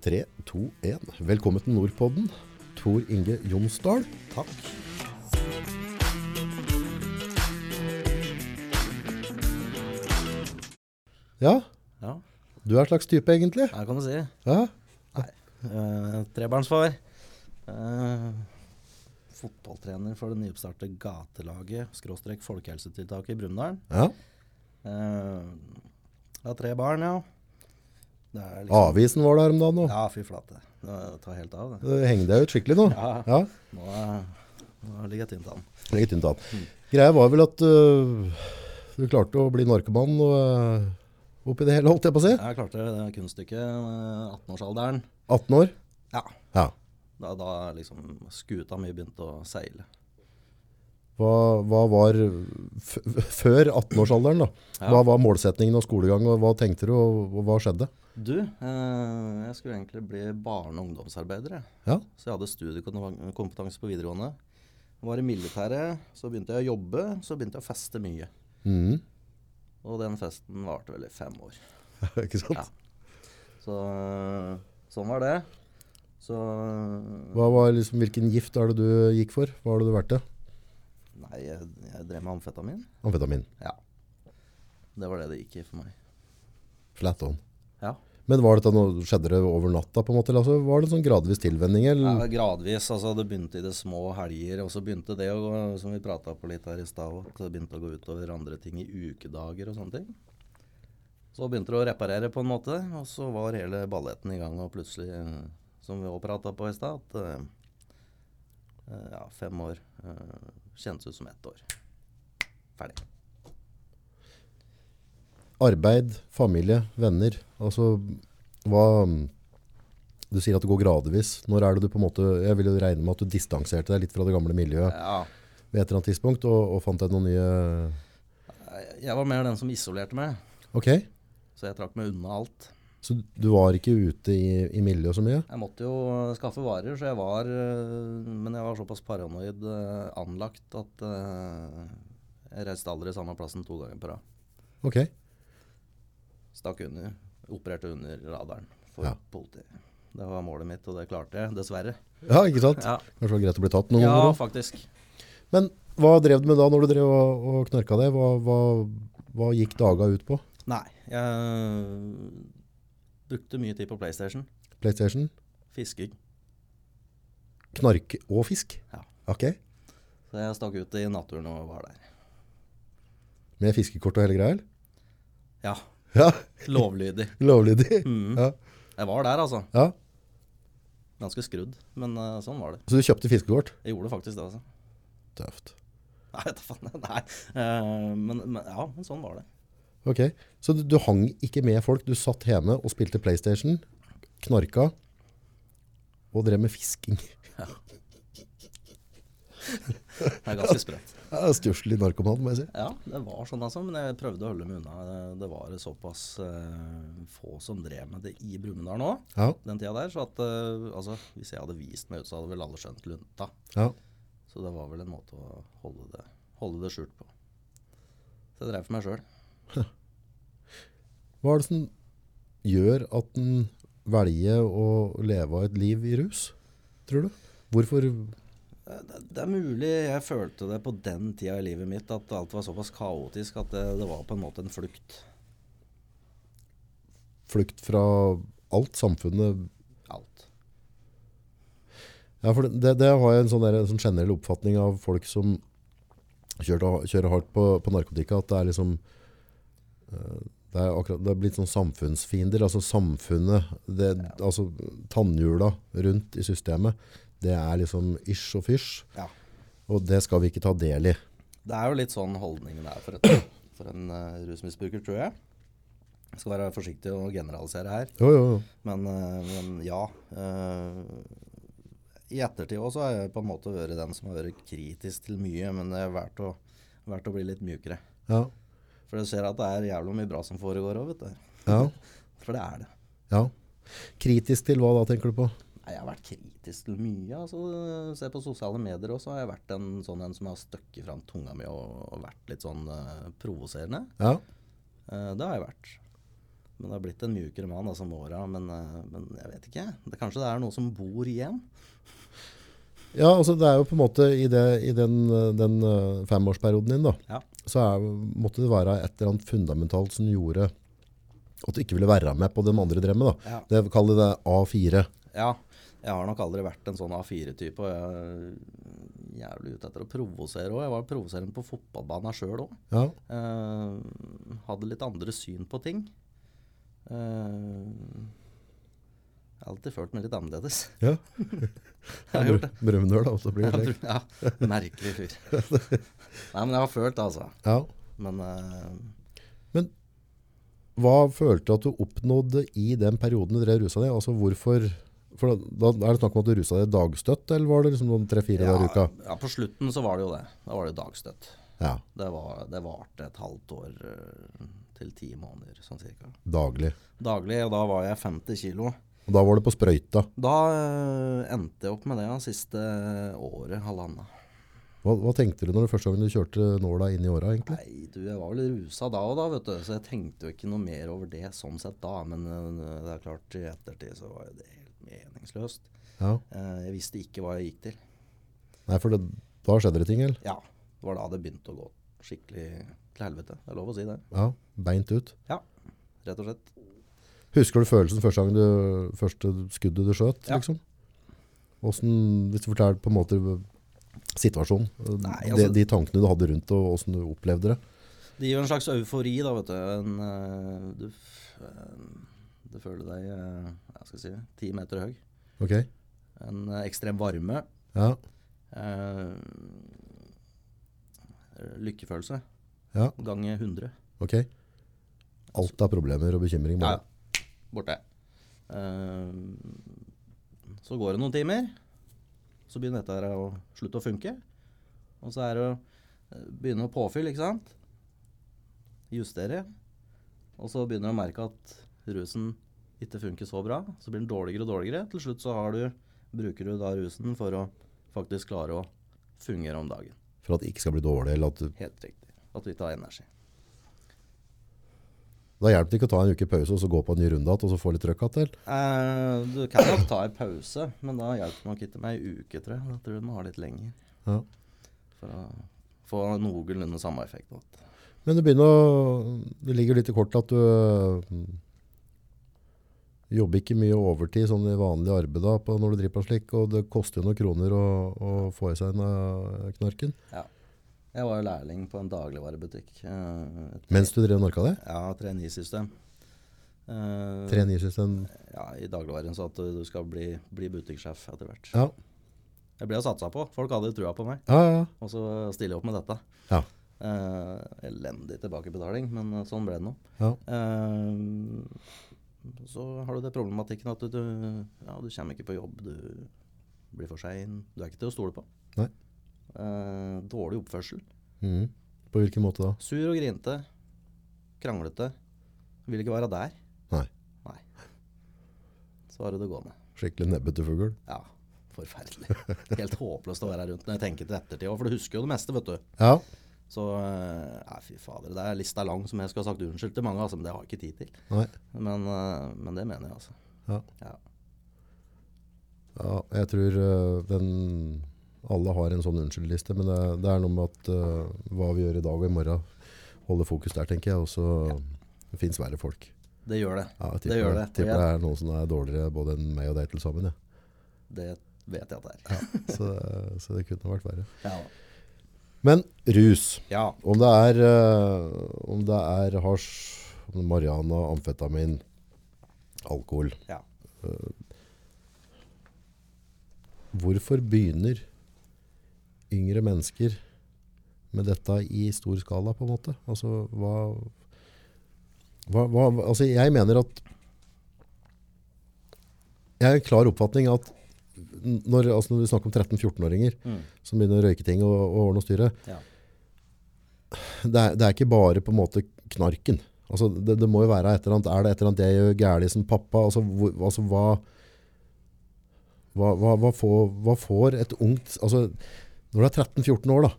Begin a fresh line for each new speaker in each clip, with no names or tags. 3, 2, 1. Velkommen til Nordpodden. Tor Inge Jonsdal. Takk. Ja,
Ja,
du er en slags type egentlig.
det kan du si.
Ja,
Eh, trebarnsfar. Eh, fotballtrener for det nyoppstartede gatelaget skråstrek folkehelsetiltaket i Brumunddal.
ja.
Eh, jeg har tre barn, ja. Det er liksom
Avisen var der om dagen nå.
Ja, fy flate. Det tar helt av, det.
Det henger deg ut skikkelig nå.
Ja.
Ja,
Nå, er- nå ligger jeg tynt an.
legge tynt an. Greia var vel at øh, du klarte å bli narkoman og, øh, oppi det hele, holdt jeg på å si.
Jeg klarte det kunststykket, eh, 18-årsalderen.
18 år.
Ja.
Ja.
Da, da liksom skuta mi begynte å seile.
Hva, hva var f før 18-årsalderen da?
Ja.
Hva var målsetningen og skolegang, og hva tenkte du, og, og hva skjedde?
Du, eh, jeg skulle egentlig bli barne- og ungdomsarbeider, jeg.
Ja,
Så jeg hadde studiekompetanse på videregående. Jeg var i militæret, så begynte jeg å jobbe, så begynte jeg å feste mye. Mm.
Mhm.
Og den festen varte vel i fem år.
ikke sant?
Ja. Så sånn var det. Så eh,
Hva var liksom, hvilken gift er det du gikk for? Hva har det du vært til?
Nei, jeg, jeg drev med amfetamin.
Amfetamin.
Ja. Det var det det gikk i for meg.
Flat on.
Ja.
Men var dette noe, skjedde det over natta på en måte? eller Altså, var det en sånn gradvis tilvenning?
Ja,
Eller?
gradvis. altså Det begynte i det små helger, og så begynte det å gå, som vi prata på litt her i stad, at det begynte å gå utover andre ting i ukedager og sånne ting. Så begynte det å reparere på en måte, og så var hele balletten i gang, og plutselig, eh, som vi òg prata på i stad, at eh, eh, ja, fem år eh, kjentes ut som ett år. Ferdig.
Arbeid, familie, venner? Altså, hva... Du sier at det går gradvis. Når er det du på en måte... Jeg vil jo regne med at du distanserte deg litt fra det gamle miljøet
Ja.
ved et eller annet tidspunkt, og, og fant deg noen nye...
Jeg var mer den som isolerte meg,
Ok,
så jeg trakk meg unna alt.
så du var ikke ute i, i miljøet så mye?
Jeg måtte jo eh, skaffe varer, så jeg var eh, Men jeg var såpass paranoid eh, anlagt at eh, jeg reiste aldri samme plassen to ganger på rad.
Ok,
Stakk under. Opererte under radaren for
Ja.
politiet. Det var målet mitt, og det klarte jeg, dessverre.
ja, ikke sant?
Ja,
Kanskje det var greit å bli tatt noen
ja
ganger også?
faktisk.
Men hva drev du med da når du drev og, og knarka deg? Hva, hva, hva gikk daga ut på?
Nei, jeg brukte mye tid på PlayStation.
Playstation?
Fisking.
Knark og fisk?
Ja.
Ok,
Så jeg stakk ut i naturen og var der.
med fiskekort og hele greia? eller?
Ja,
Ja,
lovlydig.
lovlydig.
Mm.
Ja.
Jeg var der, altså.
ja,
Ganske skrudd, men eh, sånn var det.
så du kjøpte fiskekort?
Jeg gjorde faktisk det, altså.
Tøft.
Nei, vet du faen, nei. Eh, men, men ja, men sånn var det.
Ok, så du, du hang ikke med folk, du satt hjemme og spilte Playstation, knarka og drev med fisking.
Det er ganske sprøtt.
Ja, Størselig narkoman, må jeg si.
Ja, det var sånn altså, men jeg prøvde å holde meg unna. Det var såpass eh, få som drev med det i Brumunddal nå,
Ja,
den tida der. Så at, eh, altså, hvis jeg hadde vist meg ut, så hadde vel alle skjønt lunta.
ja.
Så det var vel en måte å holde det, holde det skjult på. Så jeg drev for meg sjøl.
Hva er det som gjør at en velger å leve av et liv i rus, tror du? Hvorfor?
Eh, Det, det er mulig jeg følte det på den tida i livet mitt at alt var såpass kaotisk at eh, det, det var på en måte en flukt.
Flukt fra alt samfunnet?
Alt.
Ja, for det, det har jeg en sånn, der, en sånn generell oppfatning av folk som kjører, kjører hardt på, på narkotika, at det er liksom eh, det er, akkurat, det er blitt sånn samfunnsfiender, altså samfunnet, det, altså tannhjula rundt i systemet, det er liksom ish og fysj,
Ja.
og det skal vi ikke ta del i.
Det er jo litt sånn holdningen er for, et, for en eh, rusmisbruker, tror jeg. Jeg skal være forsiktig og generalisere her,
Jo, jo, jo.
men, eh, men ja. eh, I ettertid også har jeg på en måte vært den som har vært kritisk til mye, men det er verdt å, verdt å bli litt mjukere.
Ja,
For du ser at det er jævlig mye bra som foregår òg, vet du.
Ja.
For det er det.
ja. Kritisk til hva da, tenker du på?
Nei, Jeg har vært kritisk til mye. altså. Se på sosiale medier også, har jeg vært en sånn en som har støkket fram tunga mi og, og vært litt sånn eh, provoserende.
Ja,
Eh, det har jeg vært. Men det har blitt en mjukere mann altså, med åra. Men, eh, men jeg vet ikke. Det, kanskje det er noe som bor igjen?
Ja, altså det er jo på en måte i, det, i den, eh, den eh, femårsperioden din da,
Ja.
så er, måtte det være et eller annet fundamentalt som gjorde at du ikke ville være med på den andre drømmen da.
Ja.
Det kaller det A4.
Ja. Jeg har nok aldri vært en sånn A4-type. Og jeg er jævlig ute etter å provosere òg. Jeg var provoserende på fotballbanen sjøl òg.
Ja,
Eh, hadde litt andre syn på ting. Eh, jeg har alltid følt meg litt annerledes.
ja.
Jeg har gjort det.
Brumnør da, og så blir det slik.
Ja, merkelig fyr. Nei, men jeg har følt det, altså.
Ja.
Men eh,
Hva følte du at du oppnådde i den perioden du drev rusa deg? Altså hvorfor, for da, da er det snakk om at du rusa deg dagstøtt, eller var det liksom noen 3-4
ja,
dager i uka?
ja, på slutten så var det jo det. Da var det dagstøtt.
Ja,
Det, var, det varte et halvt år eh, til ti måneder, sånn cirka.
daglig.
Daglig, og da var jeg 50 kilo.
Og da var det på sprøyta.
Da eh, endte jeg opp med det ja, siste året, halvannet.
Hva, hva tenkte du når du første gangen du kjørte nåla inn i åra egentlig?
Nei, du, jeg var vel rusa da og da, vet du. Så jeg tenkte jo ikke noe mer over det sånn sett da. Men eh, det er klart, i ettertid så var jo det helt meningsløst.
Ja.
Eh, jeg visste ikke hva jeg gikk til.
Nei, for det, da skjedde det ting, eller?
Ja, det var da det begynte å gå skikkelig til helvete. Det er lov å si det.
Ja, beint ut.
Ja, rett og slett.
Husker du følelsen første gang du, første skuddet du skjøt,
Ja.
liksom? Hvordan, hvis du forteller på en måte situasjonen, eh,
Nei,
de,
altså-
de tankene du hadde rundt og hvordan du opplevde det?
Det gir jo en slags eufori, da, vet du. En, eh, du, f- eh, du føler deg eh, hva skal jeg si, ti meter høy.
Ok,
En eh, ekstrem varme.
ja,
eh, lykkefølelse.
ja,
Ganger 100.
ok. Alt er problemer og bekymring
Ja,
bare.
borte. Eh, så går det noen timer, så begynner dette her å slutte å funke. Og så er det å eh, begynne å påfylle, ikke sant? Justere. Og så begynner du å merke at rusen ikke funker så bra. Så blir den dårligere og dårligere. Til slutt så har du, bruker du da rusen for å faktisk klare å fungere om dagen.
For at det ikke skal bli dårlig, eller at du,
Helt riktig. At du ikke har energi.
da hjelper det ikke å ta en uke pause og så gå på en ny runde igjen, og så få litt trøkk til.
Eh, du kan nok ta en pause, men da hjelper nok ikke med ei uke, tror jeg. Da tror jeg du må ha litt lenger
Ja.
for å få noenlunde samme effekt. vet du.
Men det begynner å, det ligger litt i kortet at du mm, jobber ikke mye overtid sånn i vanlig arbeid da, på, når du driver på slik, og det koster jo noen kroner å, å få i seg en eh, knarken.
Ja. Jeg var jo lærling på en dagligvarebutikk. eh, et-
Mens du drev narka det?
Ja, 3-9-system. Eh,
3-9-system?
ja, I dagligvaren så at du du skal bli, bli butikksjef etter hvert.
Ja.
Jeg ble jo satsa på. Folk hadde jo trua på meg.
Ja, ja,
Og så stiller jeg opp med dette.
ja.
Eh, elendig tilbakebetaling, men eh, sånn ble det nå.
ja.
Ehm, så har du det problematikken at du, du, ja, du kommer ikke på jobb, du blir for sein. Du er ikke til å stole på.
Nei.
Eh, dårlig oppførsel.
Mhm. På hvilken måte da?
Sur og grinte. Kranglete. Vil ikke være der.
Nei,
Nei. Så har du det gående.
skikkelig nebbete fugl.
Ja, forferdelig. Helt håpløst å være rundt når jeg tenker til ettertid òg, for du husker jo det meste, vet du.
Ja,
Så eh, ja, fy fader, det er lista lang som jeg skulle ha sagt unnskyld til mange, altså, men det har jeg ikke tid til.
nei.
Men, eh, men det mener jeg, altså.
Ja.
Ja.
Ja, jeg tror eh, den, alle har en sånn unnskyldliste, men det, det er noe med at eh, hva vi gjør i dag og i morgen, holder fokus der, tenker jeg, og så det finnes verre folk.
Det gjør det.
Ja, jeg
Det
tipper,
gjør
det,
det.
tipper
Og
det er noen som er dårligere både enn meg og deg til sammen, ja.
Det vet jeg at det er.
så, så det kunne vært verre.
Ja.
Men rus,
ja.
om det er, eh, om det er hasj, om det er marihuana, amfetamin, alkohol, Eh,
ja.
Hvorfor begynner yngre mennesker med dette i stor skala, på en måte? Altså, hva, hva, hva Altså, jeg mener at Jeg har en klar oppfatning at n- når, altså når vi snakker om 13-14-åringer
Mm.
som begynner å røyke ting og, og ordne og styre,
ja.
det er, det er ikke bare på en måte knarken. Altså, det, det må jo være et eller annet. Er det et eller annet jeg gjør gærlig som pappa? Altså, hvor, altså hva, hva, hva, hva, får, hva får et ungt... Altså, når du er 13-14 år da,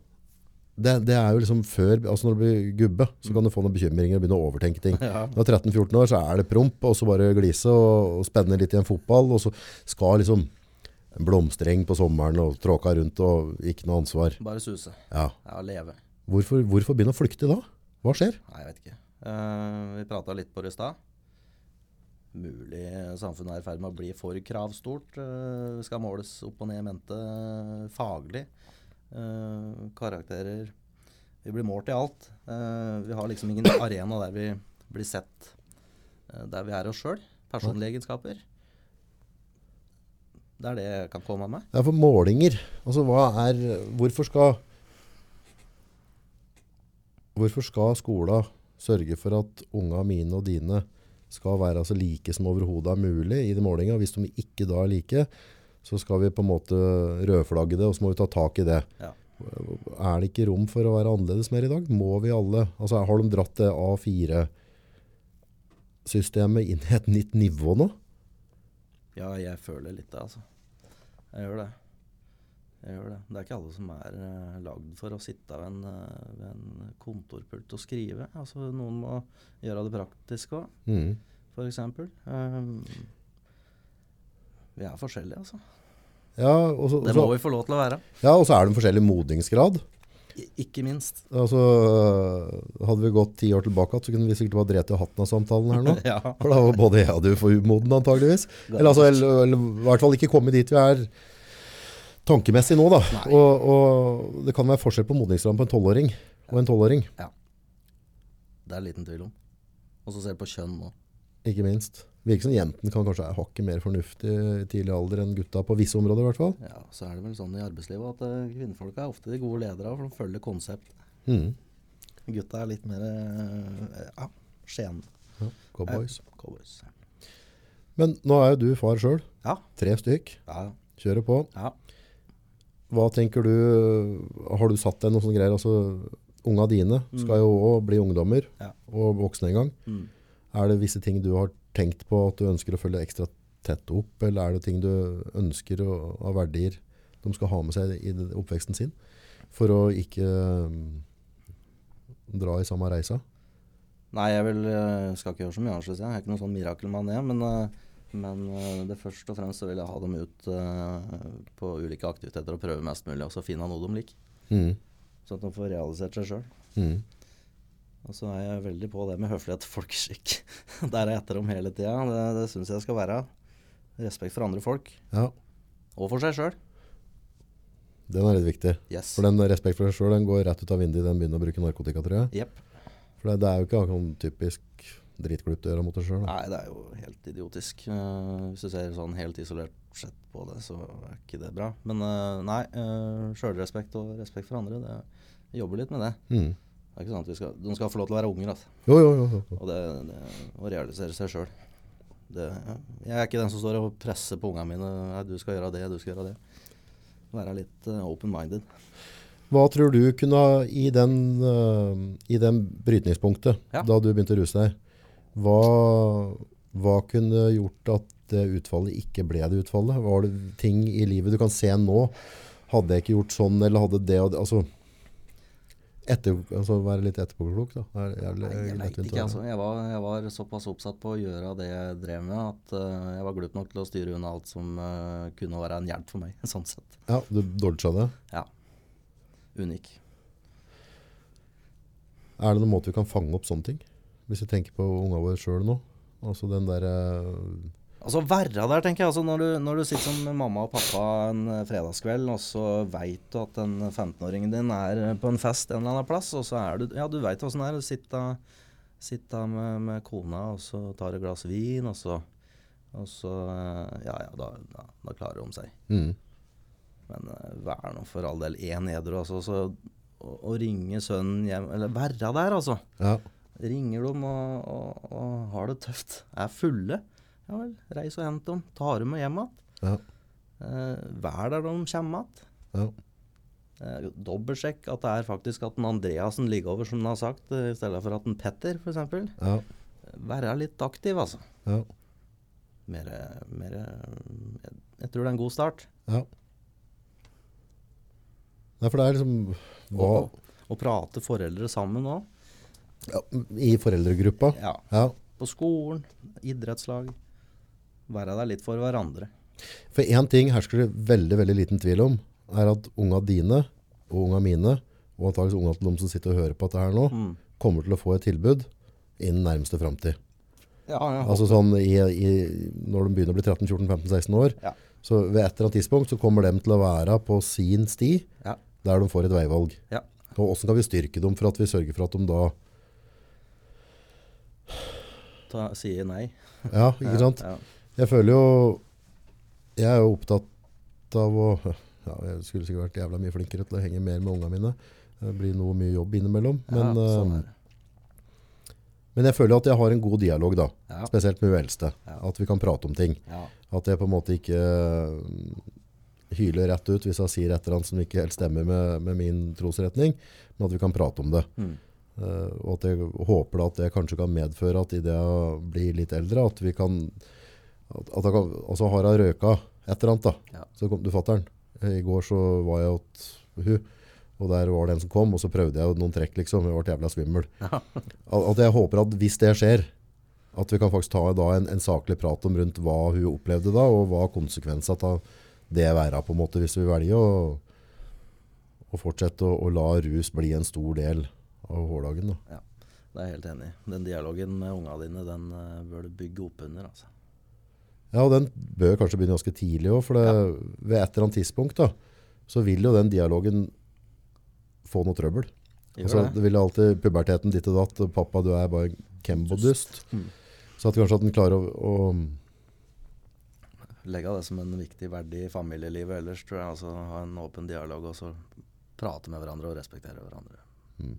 det, det er jo liksom før, altså når du blir gubbe, så kan du få noen bekymringer og begynne å overtenke ting.
Ja.
Når du er 13-14 år, så er det promp, og så bare glise og, og spenne litt i en fotball, og så skal liksom en blomstreng på sommeren og tråka rundt og ikke noe ansvar.
Bare suse.
Ja.
Ja, leve.
Hvorfor, hvorfor begynne å flykte da? Hva skjer?
Nei, jeg vet ikke. Eh, vi prata litt på det i stad. Mulig samfunnet er i ferd med å bli for kravstort. eh, skal måles opp og ned i mente eh, faglig. Eh, karakterer Vi blir målt i alt. Eh, vi har liksom ingen arena der vi blir sett eh, der vi er oss sjøl. Personlige egenskaper. Det er det jeg kan komme med.
Det er for målinger. Altså, hva er, hvorfor skal Hvorfor skal skola sørge for at unga mine og dine skal være altså like som overhodet er mulig i de målinga? Hvis de ikke da er like, så skal vi på en måte rødflagge det, og så må vi ta tak i det.
Ja.
Er det ikke rom for å være annerledes mer i dag? Må vi alle? Altså, har de dratt det A4-systemet inn i et nytt nivå nå?
Ja, jeg føler litt det, altså. Jeg gjør det. Jeg gjør det. Det er ikke alle som er eh, lagd for å sitte ved en, eh, ved en kontorpult og skrive. Altså, noen må gjøre det praktisk òg,
Mm.
f.eks. Ehm, vi er forskjellige, altså.
Ja, og så,
Det
og så-
må vi få lov til å være.
Ja, og så er det en forskjellig modningsgrad.
I, ikke minst.
Altså, hadde vi gått ti år tilbake, så kunne vi sikkert bare drept i hatten av samtalen her nå.
ja.
For da var både jeg og du for umoden antageligvis. Eller, altså, eller, eller i hvert fall ikke komme dit vi er tankemessig nå. Da. Og, og det kan være forskjell på modningsgraden på en tolvåring og en tolvåring,
Det er liten tvil om. Og så ser du på kjønn nå.
ikke minst. Virker som jenten kan kanskje være hakket mer fornuftig i tidlig alder enn gutta på visse områder i hvert fall.
Ja, Så er det vel sånn i arbeidslivet at eh, kvinnfolk er ofte de gode ledere, for de følger konsept.
Mhm.
Gutta er litt mer eh, ja, Skien.
Ja, cowboys.
Eh, Cowboys.
Men nå er jo du far sjøl.
Ja.
Tre stykk.
Ja,
Kjører på.
ja.
Hva tenker du, har du satt deg noen sånne greier, altså unga dine skal jo også bli ungdommer
Ja.
og voksne en gang.
Mm.
Er det visse ting du har tenkt på at du ønsker å følge ekstra tett opp, eller er det ting du ønsker å, av verdier de skal ha med seg i det- oppveksten sin, for å ikke um, dra i samme reisa?
Nei, jeg vil, eh, skal ikke gjøre så mye annerledes. Jeg Jeg er ikke noen sånn mirakelmann, jeg. Men, eh, men eh, det først og fremst så vil jeg ha dem ut eh, på ulike aktiviteter og prøve mest mulig, og så finne noe de liker.
Mm.
Sånn at de får realisert seg sjøl.
Mm.
Og så er jeg veldig på det med høflighet og folkeskikk. Der er jeg etter dem hele tida. Det, det syns jeg skal være. Respekt for andre folk.
Ja,
Og for seg sjøl.
den er litt viktig.
Yes.
For den respekt for seg selv, den går rett ut av vinduet, den begynner å bruke narkotika, tror jeg.
Jepp.
For det, det er jo ikke akkurat en typisk dritklubb til å gjøre mot seg selv. da.
Nei, det er jo helt idiotisk. Eh, hvis du ser sånn helt isolert sett på det, så er ikke det bra. Men eh, nei, uh, sjølrespekt og respekt for andre, det, jeg jobber litt med det.
Mm.
Det er ikke sånn at vi skal, De skal få lov til å være unger, altså.
Jo, jo, jo. jo.
Og det, det, å realisere seg sjøl. Jeg er ikke den som står og presser på ungene mine. Nei, du skal gjøre det, du skal gjøre det. Være litt eh, open-minded.
Hva tror du kunne ha i den, eh, i den brytningspunktet,
Ja.
da du begynte å ruse deg, hva, hva kunne gjort at det utfallet ikke ble det utfallet? Var det ting i livet du kan se nå? Hadde jeg ikke gjort sånn, eller hadde det og det? Altså, etter, altså være litt etterpåklok, da. Det er jævlig
Nei, jeg
lettvint
vet
å
ikke.
være.
Altså. Jeg, var, jeg var såpass oppsatt på å gjøre det jeg drev med, at eh, jeg var glup nok til å styre unna alt som eh, kunne være en hjelp for meg. sånn sett.
Ja, du dodget det.
Ja. Unik.
Er det noen måte vi kan fange opp sånne ting? Hvis vi tenker på unga våre selv nå. Altså den der... eh,
Altså verra der, tenker jeg. Altså, når, du, når du sitter som mamma og pappa en eh, fredagskveld, og så veit du at den 15-åringen din er eh, på en fest en eller annen plass, og så er du Ja, du veit åssen det er. Du sitter, sitter med, med kona, og så tar et glass vin, og så Og så eh, Ja ja, da, da, da klarer hun seg.
mm.
Men eh, vær nå for all del én edru, altså. Så å, å ringe sønnen hjem Eller verra der, altså.
Ja.
Ringer dem og, og, og har det tøft. Er fulle. Ja vel, reis og hent dem. Ta dem med hjem igjen.
Ja.
Eh, vær der de kommer igjen.
Ja.
Eh, dobbeltsjekk at det er faktisk at den Andreassen ligger over, som den har sagt, eh, i stedet for at den Petter, f.eks.
Ja.
Være litt aktiv, altså.
Ja.
Mer, mer, jeg, jeg tror det er en god start.
Ja. Nei, for det er liksom hva,
Og, og, Og prate foreldre sammen òg.
Ja, I foreldregruppa?
Ja.
Ja.
På skolen, idrettslag. Være der litt for hverandre.
For én ting hersker det veldig veldig liten tvil om, er at unga dine og unga mine, og antakeligvis unga til dem som sitter og hører på dette her nå,
Mm.
kommer til å få et tilbud innen nærmeste framtid.
Ja, ja.
Altså sånn i, i, når de begynner å bli 13-14-15-16 år,
Ja.
så ved et eller annet tidspunkt så kommer de til å være på sin sti
Ja.
der de får et veivalg.
Ja.
Og hvordan kan vi styrke dem for at vi sørger for at de da
Ta, sier nei.
Ja, ikke sant?
Ja, ja.
Jeg føler jo Jeg er jo opptatt av å ja, Jeg skulle sikkert vært jævla mye flinkere til å henge mer med unga mine. Det blir noe mye jobb innimellom. Men,
ja, sånn
eh,
er det.
men jeg føler at jeg har en god dialog, da.
Ja.
Spesielt med hun eldste.
Ja.
At vi kan prate om ting.
ja.
At jeg på en måte ikke eh, hyler rett ut hvis jeg sier et eller annet som ikke helt stemmer med, med min trosretning, men at vi kan prate om det.
Mm.
Eh, og at jeg håper da at det kanskje kan medføre at idet jeg blir litt eldre, at vi kan at, at jeg kan, Altså har jeg røyka et eller annet, da.
Ja.
Så kom du fatter'n. I går så var jeg hos hun, og der var det en som kom, og så prøvde jeg noen trekk, liksom. Jeg ble jævla svimmel. At, at jeg håper at hvis det skjer, at vi kan faktisk ta da en, en saklig prat om rundt hva hun opplevde da, og hva konsekvensen av det være, på en måte, hvis vi velger å, å fortsette å, å la rus bli en stor del av hverdagen. da.
Det er jeg helt enig i. Den dialogen med unga dine, den eh, bør du bygge opp under, altså.
Ja, og den bør kanskje begynne ganske tidlig òg, for det, ved et eller annet tidspunkt da, så vil jo den dialogen få noe trøbbel.
Gjør
Altså,
det.
det vil alltid puberteten ditt og datt, og 'pappa, du er bare en kembodust'.
Mm.
Så at kanskje at den klarer å, å
Legge av det som en viktig verdi i familielivet ellers, tror jeg. Altså, ha en åpen dialog og så prate med hverandre og respektere hverandre.
Mm.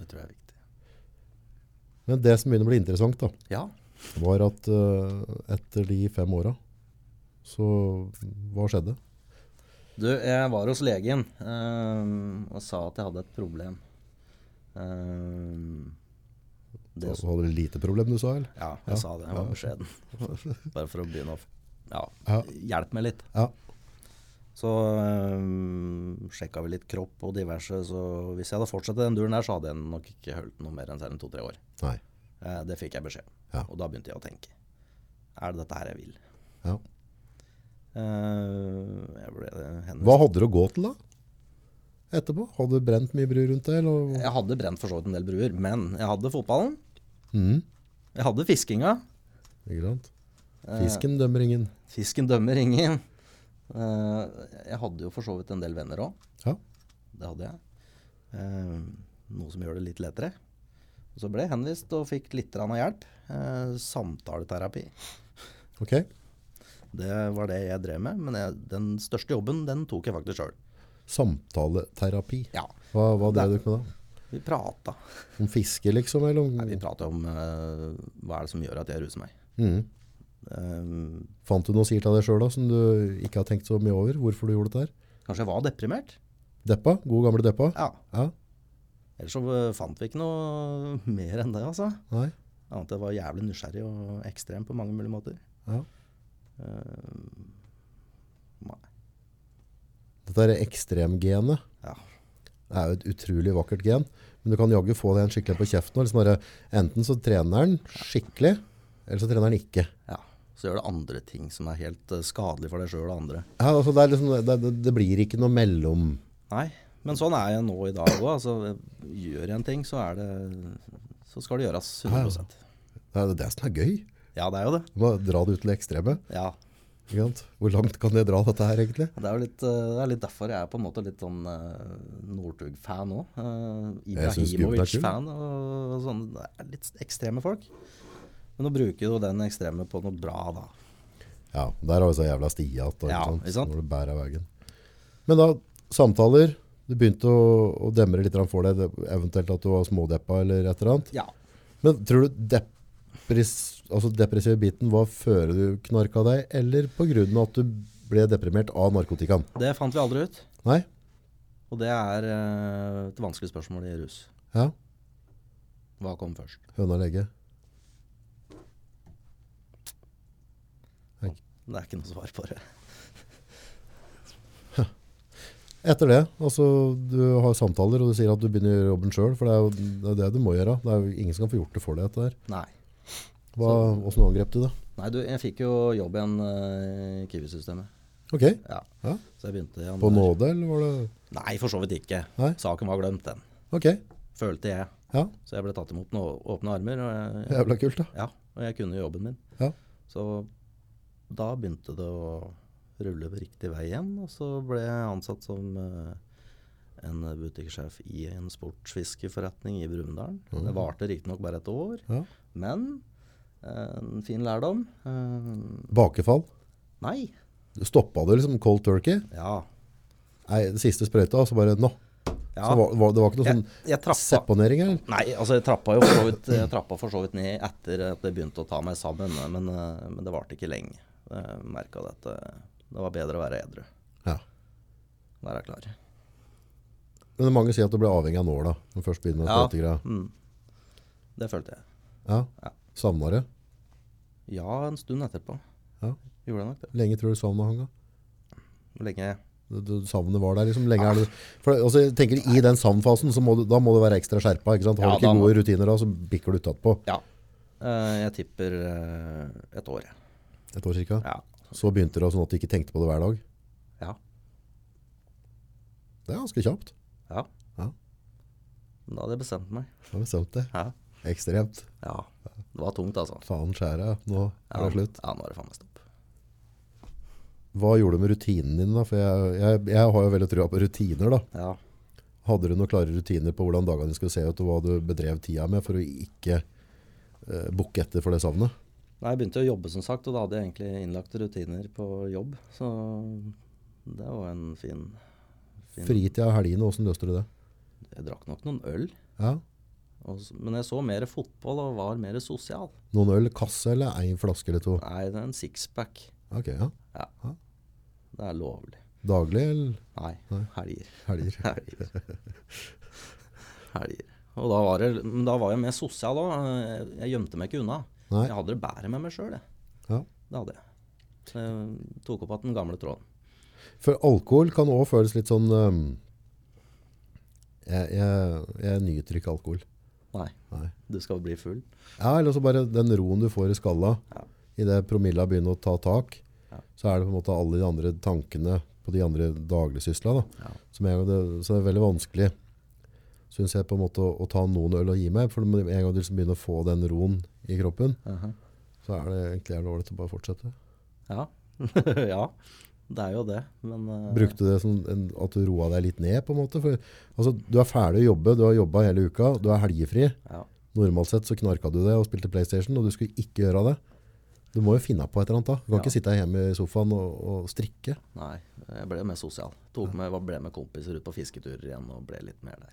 Det tror jeg er viktig.
Men det som begynner å bli interessant, da,
Ja.
var at eh, etter de fem åra, så hva skjedde?
Du, jeg var hos legen eh, og sa at jeg hadde et problem. Eh, det
Så Altså, hadde du lite problem, du sa, eller?
Ja, jeg
Ja.
sa det. Jeg var beskjeden. Bare for å begynne å f- ja,
Ja.
hjelp meg litt.
Ja.
Så øhm, sjekka vi litt kropp og diverse, så hvis jeg hadde fortsatt i den duren der, så hadde jeg nok ikke holdt noe mer enn selv to-tre år.
Nei.
Eh, det fikk jeg beskjed om.
Ja.
Og da begynte jeg å tenke. Er det dette her jeg vil?
Ja.
Eh, jeg ble henvist
Hva hadde du å gå til, da? Etterpå? Hadde du brent mye bru rundt det, eller?
Jeg hadde brent for så vidt en del bruer, men jeg hadde fotballen.
Mhm,
Jeg hadde fiskinga.
ikke sant?
eh,
Fisken dømmer ingen.
Fisken dømmer ingen. Eh, jeg hadde jo for så vidt en del venner òg.
Ja.
Det hadde jeg. Eh, noe som gjør det litt lettere. Og så ble jeg henvist og fikk litt grann av hjelp. Eh, samtaleterapi.
Ok.
Det var det jeg drev med, men jeg, den største jobben den tok jeg faktisk sjøl.
Samtaleterapi.
Ja.
Hva, hva drev dere med da?
Vi prata.
Om fiske, liksom? Eller om,
Nei, vi prata om eh, hva er det som gjør at jeg ruser meg.
Mhm.
Eh,
Fant du noe sikkert av deg sjøl som du ikke har tenkt så mye over? Hvorfor du gjorde dette her?
kanskje jeg var deprimert?
Deppa? God gamle deppa?
Ja.
Ja.
Ellers så eh, fant vi ikke noe mer enn det, altså.
Nei?
Annet enn jeg var jævlig nysgjerrig og ekstrem på mange mulige måter.
Ja.
Eh, nei.
Dette er ekstremgenet.
Ja.
Det er jo et utrolig vakkert gen, men du kan jaggu få den skikkelig på kjeften. og Liksom bare, enten så trener den skikkelig, eller så trener den ikke.
ja. Så gjør det andre ting som er helt eh, skadelig for deg sjøl og andre.
Ja, altså det, er liksom, det, det, det blir ikke noe mellom.
Nei. Men sånn er jeg nå i dag òg. Altså, gjør jeg en ting, så, er det, så skal det gjøres 100
Det er det er det som er gøy.
Ja, det er jo det.
Du må dra det ut til det ekstreme.
Ja.
Ikke sant? Hvor langt kan jeg dra dette her, egentlig?
Det er jo litt, eh, det er litt derfor jeg er på en måte litt sånn eh, Northug-fan òg.
Jeg synes Gubben er kul.
Ibrahimovic-fan og sånn. Det er litt ekstreme folk. Men nå bruker jo den ekstreme på noe bra, da.
Ja, der har vi så jævla stia at da,
Ja,
ikke sant?
ikke sant?
når du bærer av veien. Men da, samtaler. Du begynte å, å demre litt grann for deg, det- eventuelt at du var smådeppa eller et eller annet.
Ja.
Men tror du depres, altså depressive biten var før du knarka deg, eller på grunn av at du ble deprimert av narkotikaen?
Det fant vi aldri ut.
Nei?
Og det er eh, et vanskelig spørsmål i rus.
Ja,
Hva kom først?
høna lege.
Det er ikke noe svar på det.
Etter det, altså du har samtaler og du sier at du begynner å gjøre jobben sjøl, for det er jo det, er det du må gjøre. Det er jo ingen som kan få gjort det for deg etter det her.
Nei.
Hva, hvordan angrep du det?
Nei, du, jeg fikk jo jobb igjen eh, i Kiwi-systemet.
Ok,
Ja.
Ja.
Så jeg begynte igjen.
på
der.
nåde eller var det?
Nei, for så vidt ikke.
Nei.
Saken var glemt, den.
Ok,
Følte jeg.
ja,
Så jeg ble tatt imot med å- åpne armer. Og jeg,
jævla kult da.
ja, og jeg kunne jobben min.
Ja.
Så da begynte det å rulle på riktig vei igjen. Og så ble jeg ansatt som eh, en butikksjef i en sportsfiskeforretning i Brumunddal. Det varte riktignok bare et år,
Ja.
men eh, en fin lærdom. Eh,
Bakefall.
Nei.
Du stoppet det liksom cold turkey.
Ja.
Nei, det siste sprøyta, og så bare nå.
ja.
Så var, var, det var ikke noe
jeg,
sånn
jeg trappa
seponering eller?
Nei, altså jeg trappa jo for så vidt, jeg trappa for så vidt ned etter at jeg begynte å ta meg sammen, men, eh, men det varte ikke lenge. Jeg merka at eh, det var bedre å være edru.
Ja.
Være klar.
Men mange sier at du ble avhengig av nåla når du først begynner med
Ja.
sprøytegreier.
Mm. Det følte jeg.
Ja.
Ja.
Savna det?
Ja, en stund etterpå.
Ja.
Gjorde jeg nok det.
Lenge tror du savna han da?
Hvor lenge
Du- du- Savnet var der liksom lenge er det For det- altså, jeg tenker I den savnfasen så må du, da må du være ekstra skjerpa. ikke sant? Har
Ja,
du ikke
da må-
gode rutiner da, så bikker du utapå.
Ja. Eh, Jeg tipper eh, et år, jeg.
Et år cirka.
Ja.
Så begynte det sånn at du ikke tenkte på det hver dag.
Ja.
Det er ganske kjapt.
ja.
Ja.
Da hadde jeg bestemt meg.
Da har vi stemt det.
Ja.
Ekstremt.
ja. Det var tungt, altså.
Faen skjæra, nå er det slutt.
Ja, nå er det faen meg stopp.
Hva gjorde du med rutinen din da? For jeg, jeg, jeg har jo veldig trua på rutiner da.
Ja.
Hadde du noen klare rutiner på hvordan dagene skulle se ut, og hva du bedrev tida med for å ikke eh, bukke etter for det savnet?
Nei, jeg begynte å jobbe som sagt, og da hadde jeg egentlig innlagt rutiner på jobb. Så det var en fin, fin
Fritida og helgene, hvordan løste du det?
Jeg drakk nok noen øl,
Ja.
og, s- men jeg så mer fotball og var mer sosial.
Noen øl, kasse eller en flaske eller to?
Nei, det er en sixpack.
Ok, ja.
Ja.
Ja.
Det er lovlig.
Daglig eller
Nei, helger.
helger?
Helger. helger. Og da var, jeg, men da var jeg mer sosial òg. Jeg, jeg gjemte meg ikke unna.
Nei.
Jeg hadde det bedre med meg sjøl, jeg.
Ja.
Det hadde jeg. Så jeg tok opp igjen den gamle tråden.
For alkohol kan også føles litt sånn ehm, jeg, jeg, jeg nyter ikke alkohol.
Nei,
Nei.
du skal bli full.
Ja, eller så bare den roen du får i skalla,
Ja.
i det promilla begynner å ta tak,
Ja.
så er det på en måte alle de andre tankene på de andre dagligsysla. Da,
Ja.
som er, jo det, så det er veldig vanskelig, synes jeg, på en måte å, å ta noen øl og gi meg. For med en gang du liksom begynner å få den roen i kroppen,
Aha.
så er det egentlig jævlig ålreit å bare fortsette.
Ja. ja. Det er jo det, men eh,
Brukte du det som en, at du roa deg litt ned, på en måte? For, altså, du er ferdig å jobbe, du har jobba hele uka, du er helgefri.
ja.
Normalt sett så knarka du det og spilte Playstation, og du skulle ikke gjøre det. Du må jo finne på et eller annet da. Du kan
Ja.
ikke sitte hjemme i sofaen og, og strikke.
Nei, jeg ble mer sosial. Tok med, ble med kompiser ut på fisketurer igjen og ble litt mer der.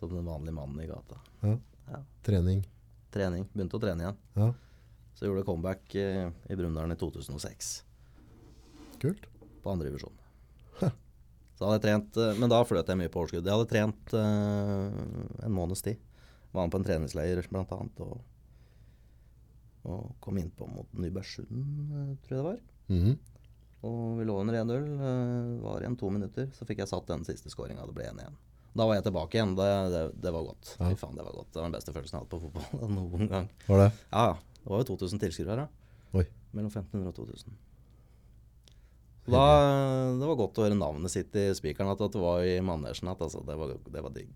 Som den vanlige mannen i gata.
Ja.
Ja.
Trening.
Trening. Begynte å trene igjen.
Ja,
Så gjorde jeg comeback eh, i Brumunddal i 2006,
kult.
på andre divisjon. Så hadde jeg trent, eh, men da fløt jeg mye på overskudd. Jeg hadde trent eh, en måneds tid. Var med på en treningsleir blant annet, og, og kom innpå mot Nybergsund, eh, tror jeg det var.
Mhm.
Og vi lå under 1-0. eh, Var igjen to minutter. Så fikk jeg satt den siste skåringa. Det ble 1 igjen. Da var jeg tilbake igjen. Det, det, det var godt. Fy faen, det var godt. Det var den beste følelsen jeg har hatt på fotball noen gang.
Var det?
Ja, ja. Det var jo 2000 tilskuere her, da.
Oi.
Mellom 1500 og 2000. Så Da, det var godt å høre navnet sitt i spikeren, at at det var i manesjen. At, altså, det, var, det var digg.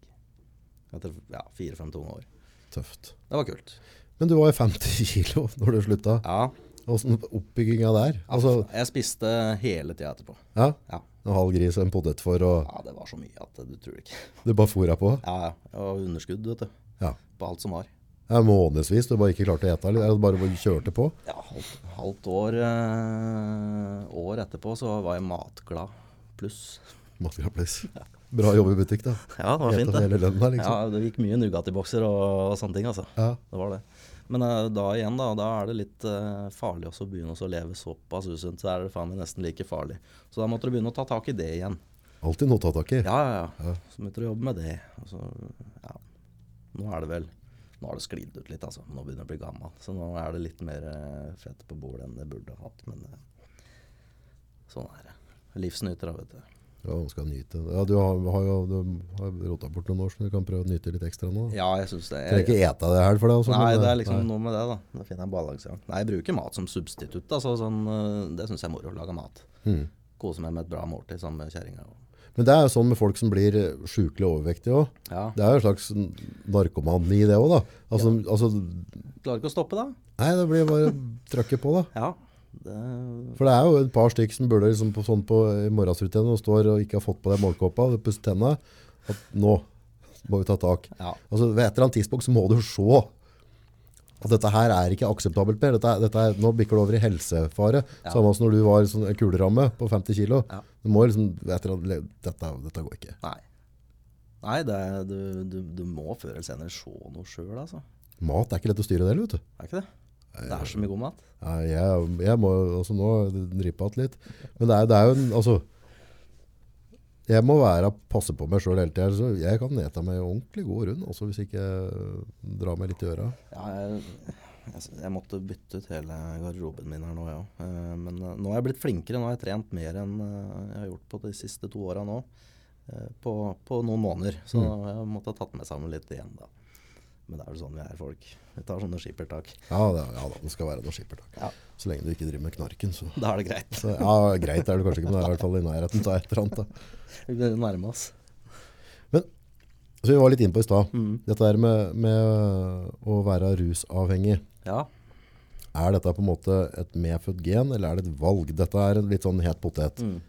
Etter ja, fire-fem tunge år.
Tøft.
Det var kult.
Men du var jo 50 kilo når du slutta.
Ja.
Åssen oppbygginga der? Altså,
Jeg spiste hele tida etterpå.
ja,
Ja.
en halv gris og en potet for, og
ja, det var så mye at du tror det ikke.
du bare fôra på?
Ja, ja. Jeg var underskudd, vet du.
Ja.
På alt som var.
ja månedsvis du bare ikke klarte å ete, eller eller bare kjørte på?
Ja, halvt, halvt år, eh, år etterpå så var jeg matglad pluss.
Matgrapplis. Bra jobb i butikk, da.
Ja, det var
Ete
fint,
for hele
det.
lønnen der, liksom.
Ja, det gikk mye Nugatti-bokser og, og sånne ting, altså.
Ja.
Det var det. Men eh, da igjen, da, da er det litt eh, farlig også å begynne også å leve såpass usunt. Så er det faen meg nesten like farlig. Så da måtte du begynne å ta tak i det igjen.
Alltid noe å ta tak i.
Ja, ja, ja. Så begynte du å jobbe med det. Og så, ja. Nå er det vel Nå har det sklidd ut litt, altså. Nå begynner jeg å bli gammel. Så nå er det litt mer eh, fett på bordet enn det burde hatt. Men eh, sånn er det. Livsnyter, da, vet du.
Ja, man skal nyte. Ja, du har, har jo du har rota bort noen år, så du kan prøve å nyte litt ekstra nå.
Ja, jeg syns det.
Trenger ikke ete det her for deg. altså,
Nei,
men,
det
eh,
er liksom
nei.
noe med det, da. Da finner jeg en balanse. ja. Nei, jeg bruker mat som substitutt. Altså, sånn, øh, det syns jeg er moro. Lage mat.
Mhm.
Kose meg med et bra måltid sammen med kjerringa.
Men det er jo sånn med folk som blir eh, sjukelig overvektige òg.
Ja.
Det er jo en slags narkomani i det òg, da. Altså, altså,
Klarer ikke å stoppe, da.
nei, det blir bare å trøkke på, da.
Ja. Det,
For det er jo et par stykk som burde liksom på, sånn på i morgensrutinen og står og ikke har fått på deg målkåpa og pusset tenna, at nå må vi ta tak.
ja.
Altså, ved et eller annet tidspunkt så må du jo se at dette her er ikke akseptabelt mer. Dette, er- dette er, nå bikker det over i helsefare. Samme som når du var sånn en kuleramme på 50 kilo.
Ja.
Du må liksom, ved et eller annet, dette, dette går ikke.
Nei. Nei, det, er- du, du, du må før eller senere se noe sjøl, altså.
Mat er ikke lett å styre det, vet du.
Er ikke det? Det er så mye god mat.
Nei, Jeg, jeg må altså nå drippe igjen litt. Men det er, det er jo en Altså Jeg må være passe på meg sjøl hele tida. Så jeg kan ete meg ordentlig god rund altså hvis ikke jeg drar meg litt i øra.
Ja, jeg, jeg, s- jeg måtte bytte ut hele garderoben min her nå, jeg òg. Men eh, nå har jeg blitt flinkere. Nå har jeg trent mer enn eh, jeg har gjort på de siste to åra nå. eh, På, på noen måneder. Så jeg måtte ha tatt meg sammen litt igjen, da. Men det er jo sånn vi er, folk. Vi tar sånne skippertak.
Ja, det, ja da, det skal være noe skippertak.
Ja.
Så lenge du ikke driver med knarken, så
Da er det greit.
så, ja, Greit er det kanskje ikke, men det er i hvert fall i nærheten av et eller annet. Da.
Vi begynner å nærme oss.
Så vi var litt inne på i stad.
Mm.
Dette her med, med å være rusavhengig.
Ja.
Er dette på en måte et medfødt gen, eller er det et valg? Dette er en litt sånn het potet.
Mm.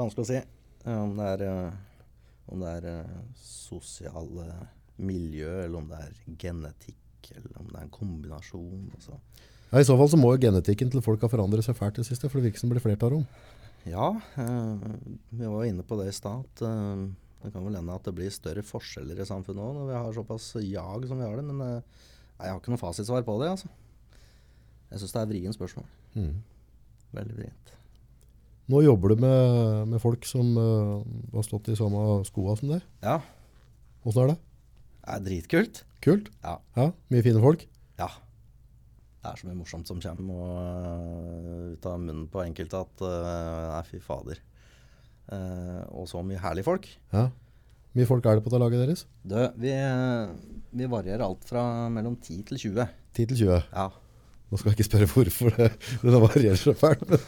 Vanskelig å si eh, om det er, eh, om det er eh, sosiale miljø, eller om det er genetikk, eller om det er en kombinasjon. Altså.
Ja, I så fall så må jo genetikken til folk ha forandret seg fælt det siste, for det virker som det blir flertall om.
Ja, eh, vi var inne på det i stad. at, eh, Det kan vel hende at det blir større forskjeller i samfunnet òg når vi har såpass jag som vi har det. Men eh, nei, jeg har ikke noe fasitsvar på det. altså. Jeg syns det er vrient spørsmål. Veldig vrient.
Nå jobber du med, med folk som eh, har stått i samme skoa som deg.
Ja,
Åssen er det?
det er dritkult.
Kult?
Ja.
Ja, mye fine folk?
Ja. Det er så mye morsomt som kommer og, øh, ut av munnen på enkelte at øh, Nei, fy fader. Eh, og så mye herlige folk.
Ja. Mye folk er det på det laget deres?
Du, vi, eh, vi varierer alt fra mellom 10 til 20.
10 til 20.
Ja.
Nå skal jeg ikke spørre hvorfor det, det varierer så fælt. men-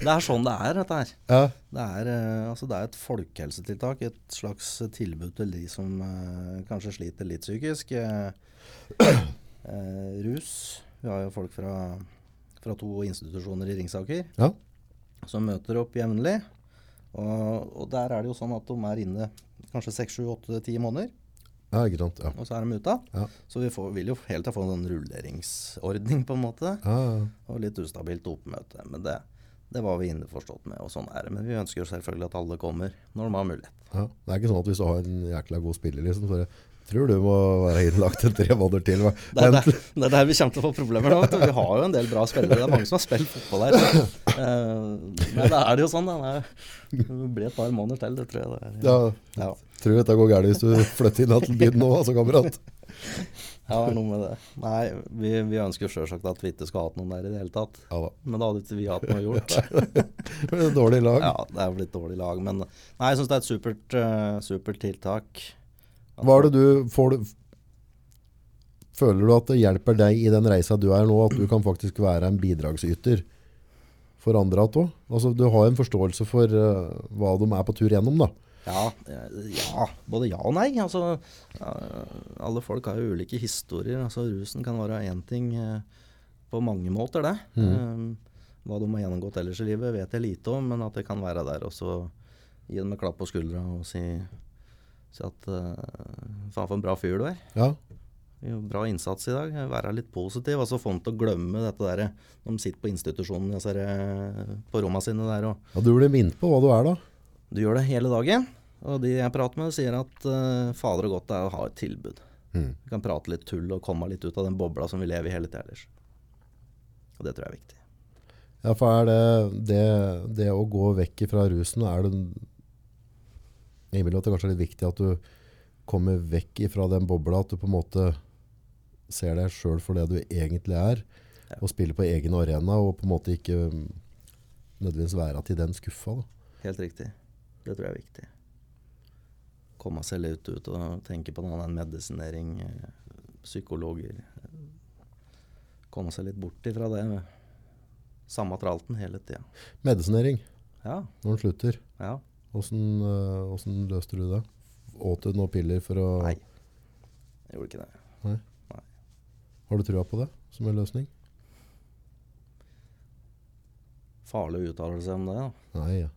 Det er sånn det er, dette her.
Ja.
Det er, eh, altså det er et folkehelsetiltak. Et slags tilbud til de som eh, kanskje sliter litt psykisk. eh, eh, rus. Vi har jo folk fra, fra to institusjoner i Ringsaker.
ja.
som møter opp jevnlig. Og, og der er det jo sånn at de er inne kanskje 6-7-8-10 måneder,
Ja, ikke sant. Ja.
og så er de ute.
Ja.
Så vi får, vil jo hele tida få en sånn rulleringsordning, på en måte.
Ja, ja.
Og litt ustabilt oppmøte. Men det, det var vi innforstått med, og sånn er det. Men vi ønsker jo selvfølgelig at alle kommer når de har mulighet.
ja. Det er ikke sånn at hvis du har en jækla god spiller, liksom, så er det, tror du må være innlagt en tre måneder til. hva?
Det er,
Men-
der, det er der vi kommer til å få problemer nå. vet du. Vi har jo en del bra spillere. Det er mange som har spilt fotball her. så, eh, men da er det jo sånn. da. Det er- det blir et par måneder til, det tror jeg. Det er.
Ja,
Ja.
tror dette går gærent hvis du flytter inn til byen nå, altså, kamerat.
Ja, det er noe med det. Nei, vi, vi ønsker jo sjølsagt at vi ikke skulle hatt noen der i det hele tatt.
Ja da.
Men da hadde ikke vi hatt noe gjort.
Det er et Dårlig lag.
Ja, det er jo litt dårlig lag, men Nei, jeg syns det er et supert, eh, supert tiltak.
Hva er det du får du, Føler du at det hjelper deg i den reisa du er nå, at du kan faktisk være en bidragsyter for andre at òg? Altså, du har en forståelse for eh, hva de er på tur gjennom, da.
Ja, eh, ja. Både ja og nei. Altså, eh, alle folk har jo ulike historier. Altså, rusen kan være én ting eh, på mange måter, det. Eh, hva de har gjennomgått ellers i livet, vet jeg lite om, men at det kan være der. Og så gi dem en klapp på skuldra og si, si at eh, faen for en bra fyr du er.
Ja,
Jo, Bra innsats i dag. Være litt positiv. altså Få dem til å glemme dette der. eh, De sitter på institusjonen altså, eh, på rommene sine der og
ja Du blir minnet på hva du er, da.
Du gjør det hele dagen. Og de jeg prater med, sier at eh, fader og godt det er å ha et tilbud.
Mhm.
Vi kan prate litt tull og komme litt ut av den bobla som vi lever i hele tida ellers. Og det tror jeg er viktig.
Ja, for er det, det, det å gå vekk fra rusen, er det Jeg vil at det kanskje er litt viktig at du kommer vekk fra den bobla, at du på en måte ser deg sjøl for det du egentlig er, og spiller på egen arena, og på en måte ikke mm, nødvendigvis være til den skuffa. Da.
Helt riktig. Det tror jeg er viktig. Komme seg litt ut og tenke på noe annet enn medisinering, eh, psykologer. Komme seg litt bort ifra det samme tralten hele tida.
Medisinering,
Ja,
når den slutter.
ja.
Hvordan, øh, hvordan løste du det? Åt du noen piller for å
Nei. Jeg gjorde ikke det.
Har du trua på det som en løsning?
Farlig å uttale seg om det, da.
Nei, ja.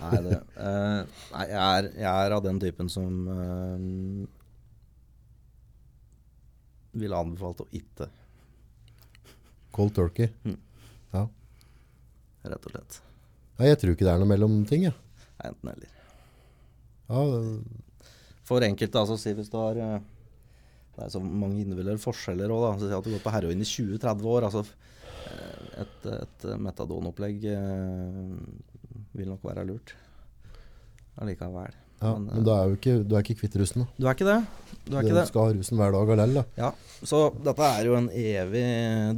Nei, det, eh, nei jeg, er, jeg er av den typen som eh, ville anbefalt å ikke,
Cold turkey.
Mm.
Ja.
rett og slett.
Nei, jeg tror ikke det er noe mellomting, jeg.
Enten eller.
Ja, det-
For enkelte, altså, si hvis du har eh, Det er så mange individuelle forskjeller òg, da. Så si at du går på heroin i 20-30 år. Altså eh, et, et metadonopplegg eh, vil nok være lurt allikevel.
ja.
Men,
Men du er jo ikke, du er ikke kvitt rusen, da.
Du er ikke det? Du er ikke det?
Du skal ha rusen hver dag allell, da.
Ja, så dette er jo en evig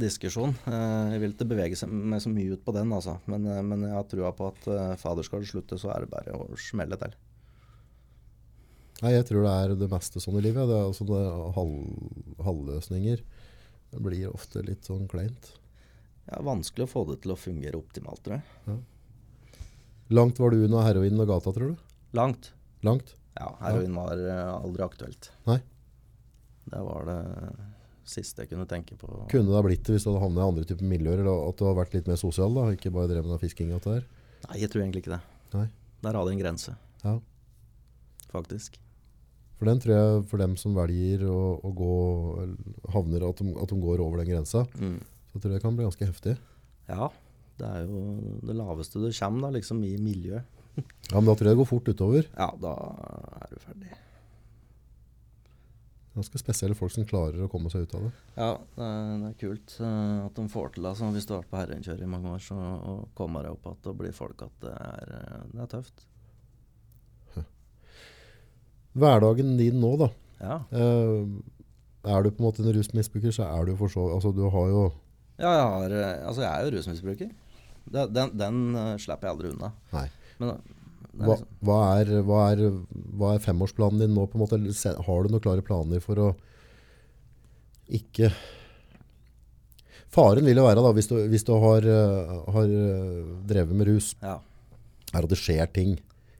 diskusjon. Eh, Jeg vil ikke bevege seg- meg så mye ut på den, altså. Men, eh, men jeg har trua på at eh, fader skal det slutte, så er det bare å smelle til.
Nei, jeg tror det er det meste sånn i livet. ja. Det er sånne halv, halvløsninger. Det blir ofte litt sånn kleint.
Det er vanskelig å få det til å fungere optimalt, tror jeg.
Langt var du unna heroin og gata, tror du?
Langt.
Langt?
Ja, heroin var eh, aldri aktuelt.
Nei.
Det var det siste jeg kunne tenke på.
Kunne det ha blitt det hvis du hadde havnet i andre typer miljøer, eller at du hadde vært litt mer sosial, da? Ikke bare drevet med fisking og alt det der?
Nei, jeg tror egentlig ikke det.
Nei.
Der hadde jeg en grense,
Ja.
faktisk.
For den tror jeg, for dem som velger å, å gå, eller havner, at de, at de går over den grensa,
Mm.
så tror jeg det kan bli ganske heftig.
Ja. Det er jo det laveste du kommer, da, liksom, i miljøet.
Ja, men da tror jeg det går fort utover.
Ja, da er du ferdig.
Ganske spesielle folk som klarer å komme seg ut av det.
Ja, det er, det er kult eh, at de får til det. Altså, hvis du har vært på herreinkjøret i mange år, så og kommer deg opp igjen og blir folk at det er, eh, det er tøft.
Hverdagen din nå, da.
Ja.
Eh, er du på en måte en rusmisbruker, så er du for så Altså, du har jo
ja jeg, har, eh, altså, jeg er jo rusmisbruker. Den, den, den eh, slipper jeg aldri unna.
Nei.
Men eh, det er
Hva,
liksom,
hva, er, hva, er, hva er femårsplanen din nå, på en måte? Eller se- Har du noen klare planer for å ikke Faren vil jo være, da, hvis du, hvis du har, eh, har eh, drevet med rus,
ja,
er at det skjer ting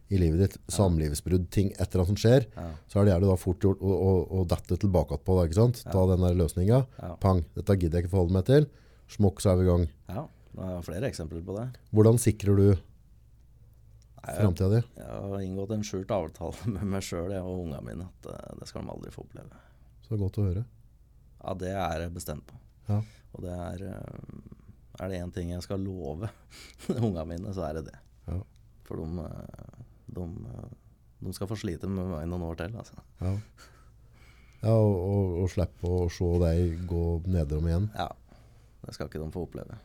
i livet ditt. Samlivsbrudd, ting, et eller annet som skjer.
ja,
Så er det gjerne da fort gjort å, å, å dette tilbake på. Da, ikke sant? Ta den der løsninga.
Ja.
Pang. Dette gidder jeg ikke forholde meg til. Smokk, så er vi i gang.
ja. Det er flere eksempler på det.
Hvordan sikrer du
Nei, jeg-
framtida di?
Jeg har inngått en skjult avtale med meg sjøl og ungene mine at eh, det skal de aldri få oppleve.
Så det er godt å høre.
Ja, det er jeg bestemt på.
Ja.
Og det er eh, Er det én ting jeg skal love ungene mine, så er det det.
Ja.
For de, eh, de, eh, de skal få slite med meg noen år til. Altså.
Ja. Ja, og, og, og slippe å se deg gå nedom igjen.
Ja. Det skal ikke de få oppleve.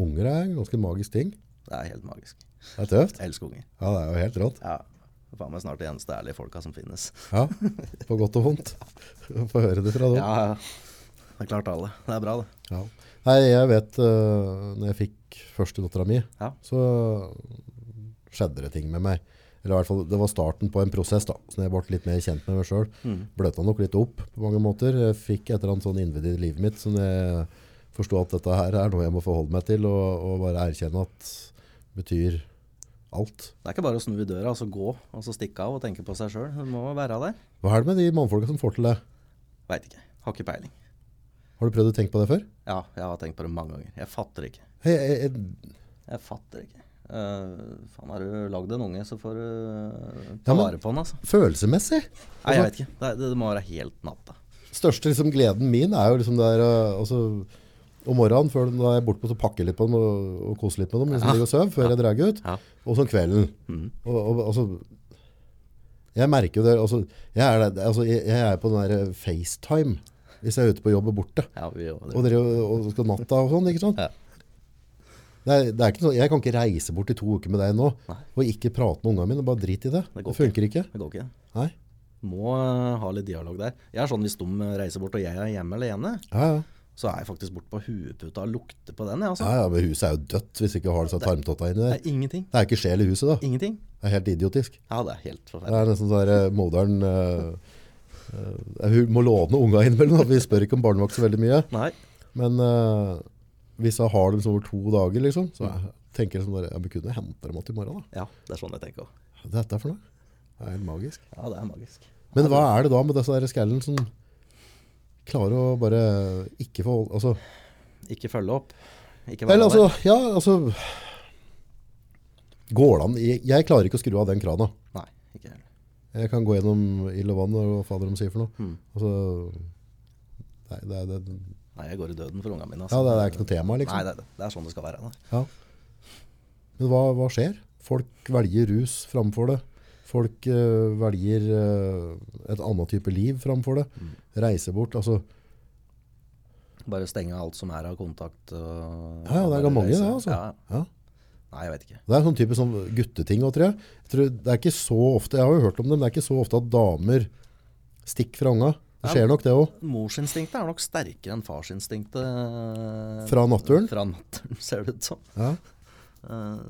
Unger er en ganske magisk ting.
Det er helt magisk.
Det er tøft.
Jeg elsker unger.
Ja, det er jo helt rått.
Ja. Det er faen meg snart de eneste ærlige folka som finnes.
Ja, På godt og vondt. Få høre det fra dem.
Ja, det er klart alle. Det er bra, det.
Ja. Nei, jeg vet uh, når jeg fikk første dattera mi,
Ja.
så skjedde det ting med meg. Eller i hvert fall, Det var starten på en prosess, da, så jeg ble litt mer kjent med meg sjøl.
Mm.
Bløta nok litt opp på mange måter. Jeg fikk et eller annet sånn innvidd i livet mitt som jeg forsto at dette her er noe jeg må forholde meg til, og, og bare erkjenne at betyr alt.
Det er ikke bare å snu i døra og så gå og så stikke av og tenke på seg sjøl. Du må være der.
Hva er det med de mannfolka som får til det?
Veit ikke. Har ikke peiling.
Har du prøvd å tenke på det før?
Ja, jeg har tenkt på det mange ganger. Jeg fatter ikke.
Hei, jeg, jeg,
Jeg fatter ikke. Eh, faen, har du lagd en unge, så får du eh, ta
Ja, men-
vare på den, altså.
følelsesmessig?
Nei, jeg vet ikke. Det, det, det må være helt natta.
største liksom, gleden min er jo liksom der eh, altså, om morgenen før de da er bortpå så pakker jeg litt på dem og, og koser litt med dem mens de ligger og sover før jeg drar ut.
Ja. Mhm.
Og sånn kvelden. Og, og, altså, jeg merker jo det altså, jeg, er, der- altså, jeg, jeg er på den der eh, FaceTime hvis jeg er ute på jobb og borte.
Ja, vi gjør
Og
det.
dere og skal natta og sånn, ikke sant?
Ja.
Det er, det er ikke sånn, jeg kan ikke reise bort i to uker med deg nå
Nei.
og ikke prate med ungene mine. Bare drit i det.
Det
Det,
går
funker ikke.
Det går ikke.
Nei.
Må eh, ha litt dialog der. Jeg er sånn hvis de eh, reiser bort og jeg er hjemme alene,
Ja, ja.
så er jeg faktisk bortpå hueputa og lukter på den. Jeg, altså.
Ja, ja, men huset er jo dødt hvis ikke har disse tarmtotta inni
Det
der.
er ingenting.
Det er ikke sjel i huset, da.
Ingenting.
Det er helt idiotisk.
Ja, det er helt
Det
forferdelig.
er nesten sånn der, eh, Molderen eh, eh, Hun må låne unga innimellom. da. Vi spør ikke om barnevakt så veldig mye.
Nei.
Men eh, hvis jeg har dem sånn over to dager, liksom, så jeg tenker jeg sånn der, jeg kunne hente dem igjen i morgen. da.
Ja, det er sånn jeg tenker òg.
Hva er dette for noe? Det er helt magisk.
Ja, det er magisk.
Men hva er det da med disse der skallene som klarer å bare ikke få altså,
Ikke følge opp. Ikke
Vel,
være
altså, ja, altså Går det an? Jeg, jeg klarer ikke å skru av den krana.
der. Nei, ikke heller.
Jeg kan gå gjennom ild og vann og hva fader de sier for noe.
Mm.
Altså, nei, det, er- det,
Nei, jeg går i døden for ungene mine. altså.
ja, det er ikke noe tema, liksom.
Nei, det, er det. det er sånn det skal være. Da.
Ja. Men hva, hva skjer? Folk velger rus framfor det. Folk eh, velger eh, et annet type liv framfor det.
Mm.
Reiser bort. Altså,
Bare stenge alt som er av kontakt. Og,
ja, ja, det er
bare
mange, det.
reise.
Altså.
Ja.
Ja.
Nei, jeg vet ikke.
Det er en sånn type sånn gutteting òg, tror jeg. jeg tror det er ikke så ofte, jeg har jo hørt om det, men det er ikke så ofte at damer stikker fra unga. Det skjer nok, det òg.
Morsinstinktet er nok sterkere enn farsinstinktet. eh,
Fra naturen?
Fra naturen, ser det ut som.
Ja.
Eh,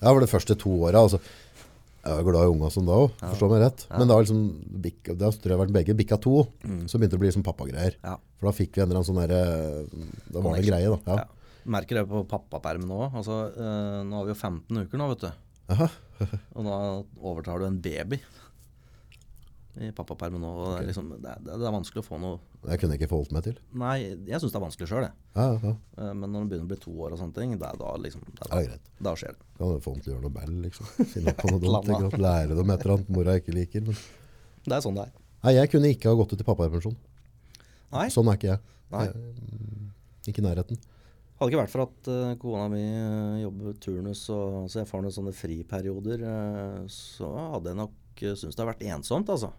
Jeg var det første to åra. Altså, jeg var glad i unga som da òg, forstå meg rett. Men da liksom, bikk- da tror jeg det har vært begge bikka to,
Mm.
så begynte det å bli liksom pappagreier.
Ja.
For da fikk vi en eller annen sånn derre Da var det en greie, da.
ja.
Ja.
Merker det på pappapermen òg. Altså, eh, nå har vi jo 15 uker nå, vet du.
Aha.
Og da overtar du en baby i pappapermen nå. Og det, er liksom, det, er- det er vanskelig å få noe
Det kunne jeg ikke forholdt meg til.
Nei, jeg syns det er vanskelig sjøl, jeg.
Ja, ja, ja.
Eh, Men når det begynner å bli to år og sånne ting, det er da liksom
Ja,
det er da,
det er greit.
da skjer det.
Kan jo få dem til å gjøre noe bæll, liksom. Finne opp på noe dumt.
eller
ikke sant? Lære dem et eller annet mora ikke liker. Men.
Det er sånn det er.
Nei, jeg kunne ikke ha gått ut i pappapermisjon.
Nei.
Sånn er ikke jeg.
Nei.
Ikke i nærheten.
Hadde ikke vært for at eh, kona mi eh, jobber turnus, og, så jeg får noen sånne friperioder, eh, så hadde jeg nok eh, syntes det har vært ensomt, altså.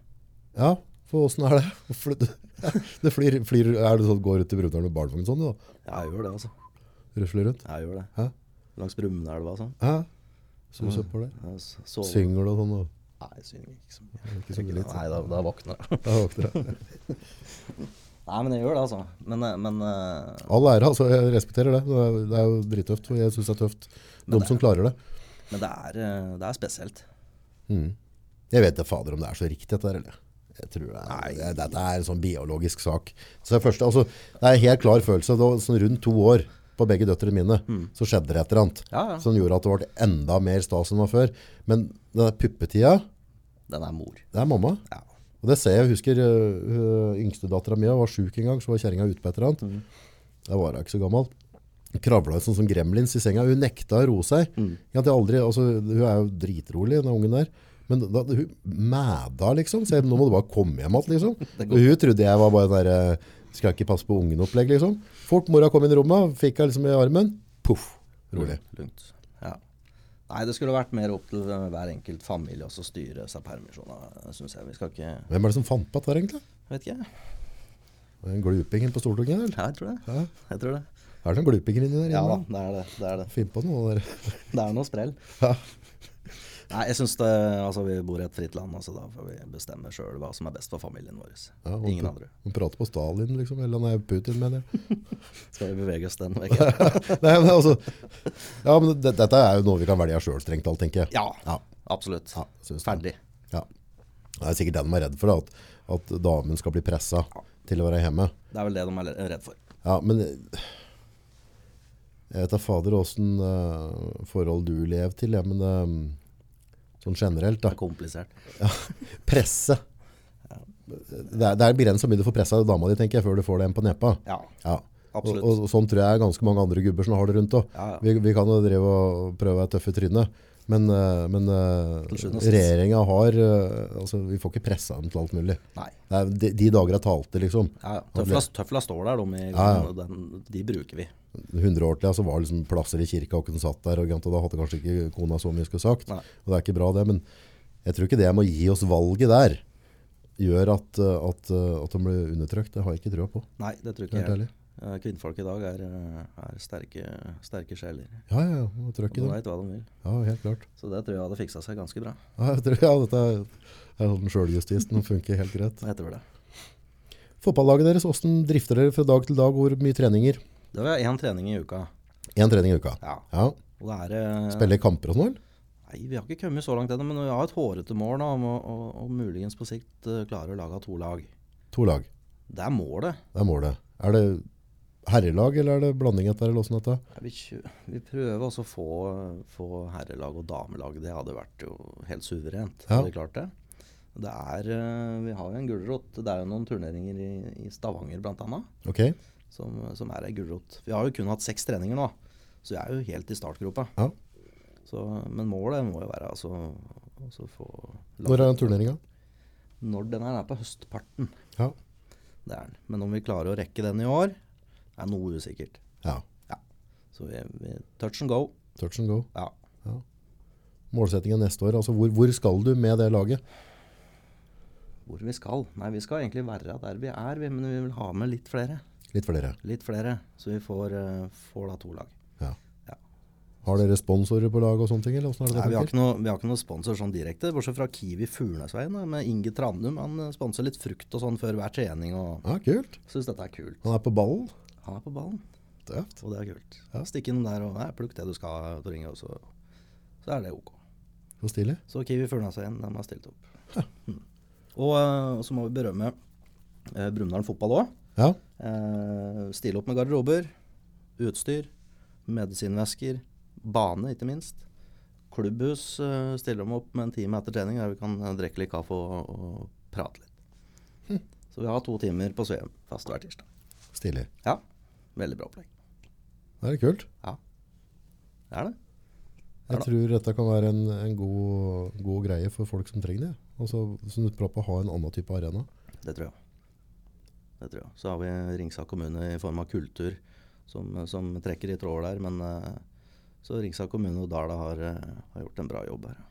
Ja, for åssen er det? Fly- Det flyr, flyr, er det sånn går ut til Brumunddal med barnevogn sånn, da?
Jeg gjør det, altså.
Rusler rundt?
Jeg gjør det.
Hæ?
Langs Brumundelva og sånn.
Hæ? Sus opp for det.
Jeg s- sover-
Synger du og sånn? Og.
Nei, jeg synger ikke så mye.
Ikke så mye litt,
Nei, da, da våkner jeg.
Da våkner jeg.
Nei, men jeg gjør det, altså. Men, eh, men eh,
All ære, altså. Jeg respekterer det. Det er, det er jo drittøft. Og jeg syns det er tøft. De som klarer det.
Men det er, eh, det er spesielt.
Mm. Jeg vet da fader om det er så riktig, dette her, eller? Jeg tror det er, det, dette er en sånn biologisk sak. Så det, første, altså, det er en helt klar følelse. Da, sånn rundt to år på begge døtrene mine, så skjedde det et eller annet.
Mm. Ja, ja.
Som gjorde at det ble enda mer stas enn det var før. Men den der puppetida,
Den er mor.
det er mamma.
Ja.
Og det ser jeg. Jeg husker uh, yngstedattera mi var sjuk en gang, så var kjerringa ute på et eller annet.
Mm.
Jeg var da ikke så gammel. Hun Kravla ut sånn som gremlins i senga. Hun nekta å roe seg.
Mm.
Ja, det er aldri, altså, hun er jo dritrolig, den ungen der. Men da, hun mæda, liksom. Så jeg, nå må du bare komme hjem igjen, liksom. Og hun trodde jeg var bare den derre Skal ikke passe på ungen-opplegg, liksom. Fort mora kom inn i rommet, fikk henne liksom i armen. Poff. Rolig.
Lugnt. Ja. Nei, det skulle vært mer opp til eh, hver enkelt familie også å styre seg permisjoner, syns jeg. Vi skal ikke
Hvem er det som fant på dette, her, egentlig?
Vet ikke jeg.
Er det En glupingen på Stortinget, eller?
Jeg tror det. Jeg tror det.
Er det noen glupinger inni der?
Ja da,
inne?
det er det. Det er, det.
Finn på noe der.
Det er noe sprell.
Ja.
Nei, jeg syns det Altså, vi bor i et fritt land, altså da får vi bestemme sjøl hva som er best for familien vår.
Ja, og
Ingen
pr-
andre.
og prate på Stalin, liksom. Eller nei, Putin, mener jeg.
Skal vi bevege oss den veien?
nei, men altså, ja, men det, dette er jo noe vi kan velge sjøl, strengt talt, tenker jeg.
Ja,
Ja,
absolutt.
ja, synes det.
Ferdig.
Ja. Det er sikkert det de er redd for, da, at, at damen skal bli pressa til å være hjemme.
Det er vel det de er le- redd for.
Ja, men jeg vet da fader åssen eh, forhold du lever til, ja, men eh, sånn generelt, da.
Det er komplisert.
Presse. Det er, det er begrensa mye du får pressa dama di, tenker jeg, før du får det en på nepa.
Ja,
Ja. Og,
absolutt.
og sånn tror jeg er ganske mange andre gubber som har det rundt òg.
Ja, ja.
Vi, vi kan jo drive og prøve å være tøffe i trynet, men, eh, men eh,
Til sjuende og sist.
regjeringa har eh, altså, Vi får ikke pressa dem til alt mulig.
Nei.
Det er, de, de dager jeg talte, liksom.
Ja, ja. Tøfla, tøfla står der, de, i,
Ja,
Den, de bruker vi.
100 år til ja, så var det liksom plasser i kirka, og hun satt der, og, og da hadde kanskje ikke kona så mye skulle sagt.
Nei.
Og det er ikke bra, det. Men jeg tror ikke det med å gi oss valget der gjør at, eh, at, eh, at de blir undertrykt. Det har jeg ikke trua på.
Nei, det tror ikke
Helt
jeg.
ærlig.
Eh, Kvinnfolk i dag er, eh, er sterke, sterke sjeler.
Ja, ja, ja. Trøkk
De
i dem.
veit hva de vil.
Ja, helt klart.
Så det tror jeg hadde fiksa seg ganske bra.
Ja, jeg tror, ja dette er, er sånn sjøljustis. Den funker helt greit.
Jeg tror det.
Fotballaget deres, hvordan drifter dere fra dag til dag? Hvor mye treninger?
Det var én trening i uka.
Én trening i uka.
Ja.
Ja.
Og det er eh,
Spiller kamper og sånn, eller?
Nei, vi har ikke kommet så langt ennå, men vi har et hårete mål da, om å, å, å muligens på sikt eh, klare å lage to lag.
To lag.
Det er målet.
Det er målet. Er det herrelag, eller er det blanding etter, eller åssen dette?
Nei, Vi, kjø- vi prøver også å få, få herrelag og damelag. Det hadde vært jo helt suverent.
Ja.
hadde vi klart det. Det er, eh, vi har jo en gulrot. Det er jo noen turneringer i, i Stavanger bl.a.
Ok.
Som, som er ei gulrot. Vi har jo kun hatt seks treninger nå, så vi er jo helt i startgropa.
Ja.
Så, men målet må jo være altså, altså få
Når er den turneringa?
Når den her er på høstparten.
Ja.
Det er den. Men om vi klarer å rekke den i år, er noe usikkert.
ja.
Så vi, vi touch and go.
Touch and go.
Ja.
Målsettingen neste år, altså hvor, hvor skal du med det laget?
Hvor vi skal? Nei, vi skal egentlig være der vi er, vi, men vi vil ha med litt flere.
Litt flere.
Litt flere, så vi får, eh, får da to lag.
Ja.
Ja.
Har dere sponsorer på laget og sånne ting, eller åssen er det
Nei, vi,
det
har
funker?
ikke noe, vi har ikke noe sponsor sånn direkte, bortsett fra Kiwi Furnesveien. da, Med Inge Trandum. Han eh, sponser litt frukt og sånn før hver trening og
Ja, kult.
syns dette er kult.
Han er på ballen.
Han er på ballen,
Tøft.
og det er kult. Stikk innom der og nei, plukk det du skal, Tor Inge, og så, så er det ok.
Så stilig.
Så Kiwi Furnesveien, de har stilt opp. Mm. Og eh, så må vi berømme eh, Brumunddal fotball òg.
Ja.
Eh, stille opp med garderober, utstyr, medisinvesker, bane, ikke minst. Klubbhus eh, stiller dem opp med en time etter trening der vi kan eh, drikke litt kaffe og, og prate litt. Så vi har to timer på Sveum fast hver tirsdag.
Stilig.
Ja, veldig bra opplegg.
Det er kult.
Det er det. Ja
Jeg
da.
tror dette kan være en, en god, god greie for folk som trenger det. Altså, som du prøver på å ha en annen type arena.
Det tror jeg. Det tror jeg. Så har vi Ringsa kommune i form av kultur som, som trekker i tråder der, men eh, så Ringsa kommune og Dala har, eh, har gjort en bra jobb her.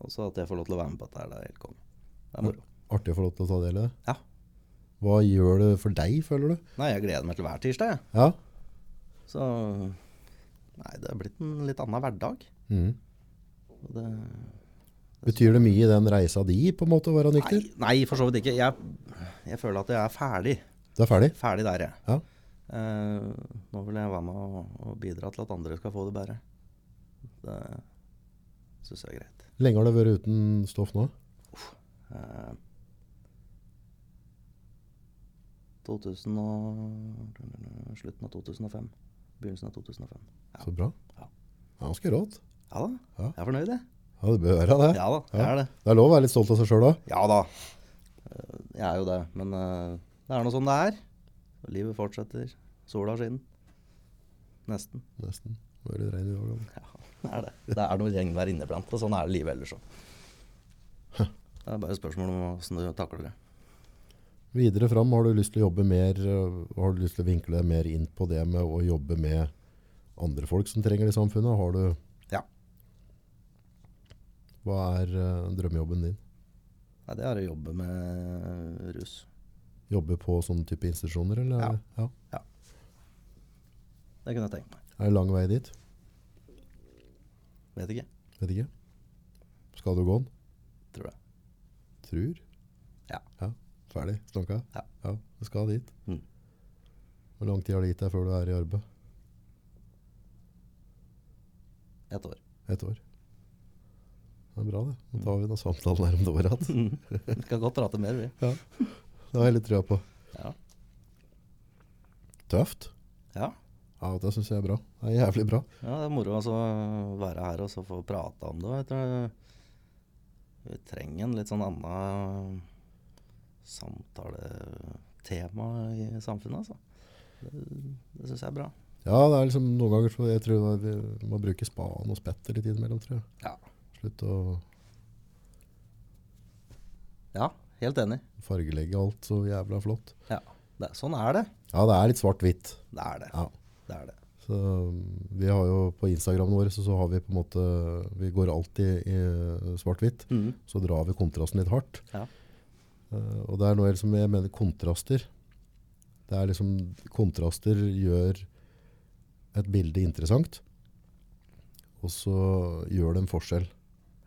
Og så at jeg får lov til å være med på dette her, det er helt konge. Det er moro.
Artig å få lov til å ta del i det.
Ja.
Hva gjør det for deg, føler du?
Nei, jeg gleder meg til hver tirsdag, jeg.
Ja.
Så Nei, det er blitt en litt annen hverdag.
Mhm.
Og Det,
Betyr det mye i den reisa di på en måte å være
nei,
nykter?
nei, for så vidt ikke. Jeg, jeg føler at jeg er ferdig.
Det er ferdig?
Ferdig der, jeg.
Ja.
Eh, nå vil jeg være med og, og bidra til at andre skal få det bedre. Det syns jeg er greit.
Lenge har du vært uten stoff nå?
Eh, 2000 og, slutten av 2005. Begynnelsen av 2005.
Så bra.
Ja.
Ganske rått.
Ja da,
Ja.
jeg er fornøyd, jeg.
Ja, det bør være det.
Ja da, jeg er det.
Det er lov å være litt stolt av seg sjøl òg.
Ja da. Eh, Jeg er jo det, men eh, det er nå sånn det er. Livet fortsetter. Sola skinner. Nesten.
Nesten. Det var litt regn i dag også.
Ja, det er det. Det er noe regnvær inniblant, og sånn er det livet ellers òg. Det er bare et spørsmål om åssen du takler det.
Videre fram, har du lyst til å jobbe mer øh, Har du lyst til å vinkle mer inn på det med å jobbe med andre folk som trenger det i samfunnet? Har du
Ja.
Hva er øh, drømmejobben din?
Nei, det er å jobbe med rus.
Jobbe på sånne type institusjoner, eller?
Ja.
ja.
Det kunne jeg tenkt meg.
Er det lang vei dit?
Vet ikke.
Vet ikke. Skal du gå den?
Tror jeg.
Tror.
Ja.
Ferdig snakka?
Ja.
Du skal dit.
Mm.
Hvor lang tid har det gitt deg før du er i arbeid?
Ett år.
Et år. Det er bra, det. Nå tar vi den samtalen her om et år igjen.
Vi kan godt prate mer, vi.
Det har jeg litt trua på.
Ja.
Tøft.
ja.
Ja, det syns jeg er bra. Det er jævlig bra.
Ja, det er moro altså, å være her og så få prate om det. og Jeg tror vi trenger en litt sånn annen samtaletema i samfunnet, altså. Det, det syns jeg er bra.
Ja, det er liksom noen ganger så jeg tror vi må bruke spaden og spettet litt innimellom, tror jeg.
Ja.
Slutt å
Ja, helt enig.
fargelegge alt så jævla flott.
Ja. Det, sånn er det.
Ja, det er litt svart-hvitt.
Det er det.
Ja.
Det er det.
Så um, vi har jo på Instagramen vår så, så har vi på en måte Vi går alltid i eh, svart-hvitt.
Mm.
Så drar vi kontrasten litt hardt.
Ja.
Eh, og det er noe liksom, jeg mener kontraster. Det er liksom Kontraster gjør et bilde interessant. Og så gjør det en forskjell.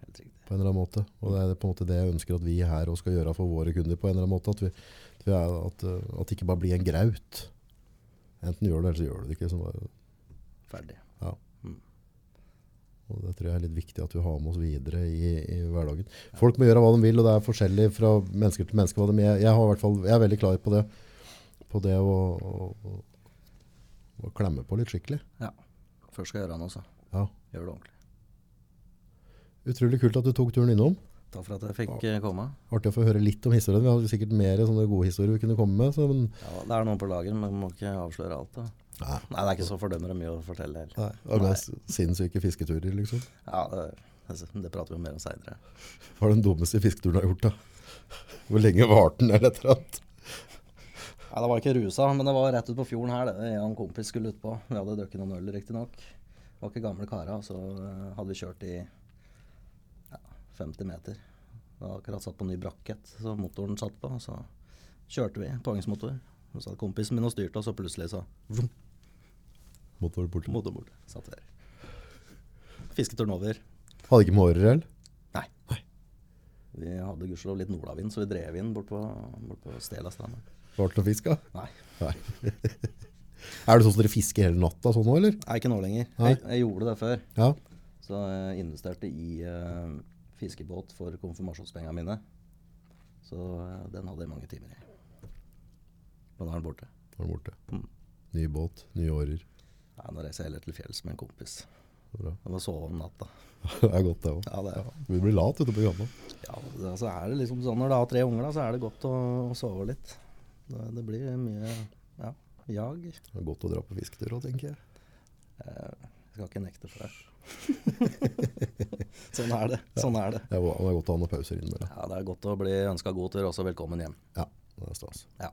Helt riktig.
på en eller annen måte. Og det er på en måte det jeg ønsker at vi her også skal gjøre for våre kunder på en eller annen måte. At, vi, at, vi er, at, eh, at det ikke bare blir en graut. Enten gjør du det, eller så gjør du det ikke. Sånn bare,
Ferdig.
og det tror jeg er litt viktig at vi har med oss videre i, i hverdagen. Folk må gjøre hva de vil, og det er forskjellig fra mennesker til mennesker. Hva de, jeg, jeg, har i hvert fall, jeg er veldig klar på det, på det å, å, å, å klemme på litt skikkelig.
Ja. Først skal jeg gjøre noe, så.
Ja.
Gjør det ordentlig.
Utrolig kult at du tok turen innom.
Takk for at jeg fikk eh, komme.
Artig å få høre litt om historien. Vi hadde sikkert mer sånne gode historier vi kunne komme med. Så, men,
Ja, det er noen på lager, men vi må ikke avsløre alt. Da.
nei,
Nei, det er ikke så fordømmende mye å fortelle heller.
nei, det var mest sinnssyke fisketurer, liksom.
Ja, det, altså, det prater vi om mer om seinere.
Hva er den dummeste fisketuren du har gjort, da? Hvor lenge varte den, eller et eller annet?
Ja, det var ikke rusa, men det var rett ut på fjorden her. Det jeg og en kompis skulle utpå. Vi hadde drukket noen øl, riktignok. Det var ikke gamle kara, så eh, hadde vi kjørt i ja, 50 meter. Det var akkurat satt på ny brakket, så motoren satt på. Så kjørte vi påhengsmotor. Så satt kompisen min og styrte, og så plutselig så vroom,
Måtte være borte.
motor borte. Satt der. Fisketuren over.
Hadde ikke mårer, eller?
Nei. Vi hadde gudskjelov litt nordavind, så vi drev inn bort på, bort på Stela strand.
Varte det noen fisk, da?
Nei,
Nei. er det sånn at dere fisker hele natta sånn nå, eller?
er ikke nå lenger.
Nei.
Jeg, jeg gjorde det før.
Ja.
Så jeg investerte i eh, fiskebåt for konfirmasjonspengene mine. Så eh, den hadde jeg mange timer i. Men nå er den borte.
Da er den borte. Ny båt, nye årer.
Nei, nå reiser jeg heller til fjells med en kompis.
Det er bra.
Jeg må sove om natta.
det er godt, det òg.
Ja, det er
Du blir lat ute på gata.
Ja, det, altså er det liksom sånn når du har tre unger, da, så er det godt å, å sove litt. Det, det blir mye ja, jag.
Det er godt å dra på fisketur òg, tenker jeg.
Eh, Jeg skal ikke nekte for det. sånn er det. Sånn er det.
Det er, det er godt å ha noen pauser innimellom.
Ja, det er godt å bli ønska god tur, også velkommen hjem.
Ja, det er stas.
Ja.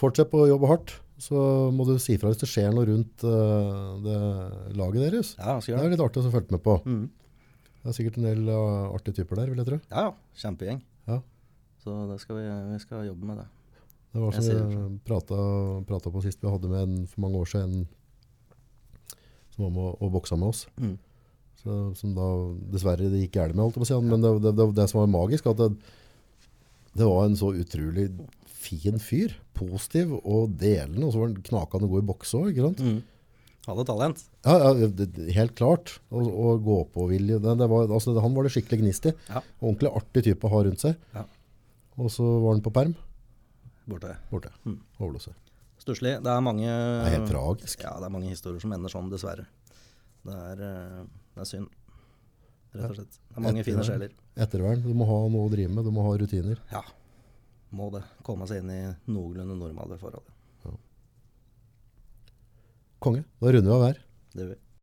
Fortsett på å jobbe hardt, så må du si fra hvis det skjer noe rundt eh, det laget deres.
Ja, skal
Det
gjøre
er
det.
litt artig å følge med på.
Mhm.
Det er sikkert en del eh, artige typer der, vil jeg tro.
Ja, ja. Kjempegjeng.
Ja.
Så det skal vi, vi skal jobbe med det.
Det var
Jeg
som
ser
vi prata, prata på sist vi hadde med en for mange år siden en som var med og, og boksa med oss.
Mhm.
Så, som da dessverre det gikk gærent med, holdt jeg på å si. Men det, det, det, det som var magisk, at det, det var en så utrolig fin fyr. Positiv og delende. Og så var han knakende god i bokse òg, ikke sant.
Mhm. Hadde talent.
Ja, ja, det- det- helt klart. Og, og gå-på-vilje. Det, det var, altså, det, han var det skikkelig gnist i.
Ja.
Ordentlig artig type å ha rundt seg.
Ja.
Og så var han på perm.
Borte.
Borte.
Mm.
Overdose.
Stusslig. Det er mange
Det er
Eh,
helt tragisk.
Ja, det er mange historier som ender sånn, dessverre. Det er, eh, det er synd. Rett og slett. Det er mange fine
Ettervern.
sjeler.
Ettervern. Du må ha noe å drive med, du må ha rutiner.
Ja. Må det. Komme seg inn i noenlunde normale forhold.
Konge. Da runder vi av hver.
Det gjør vi.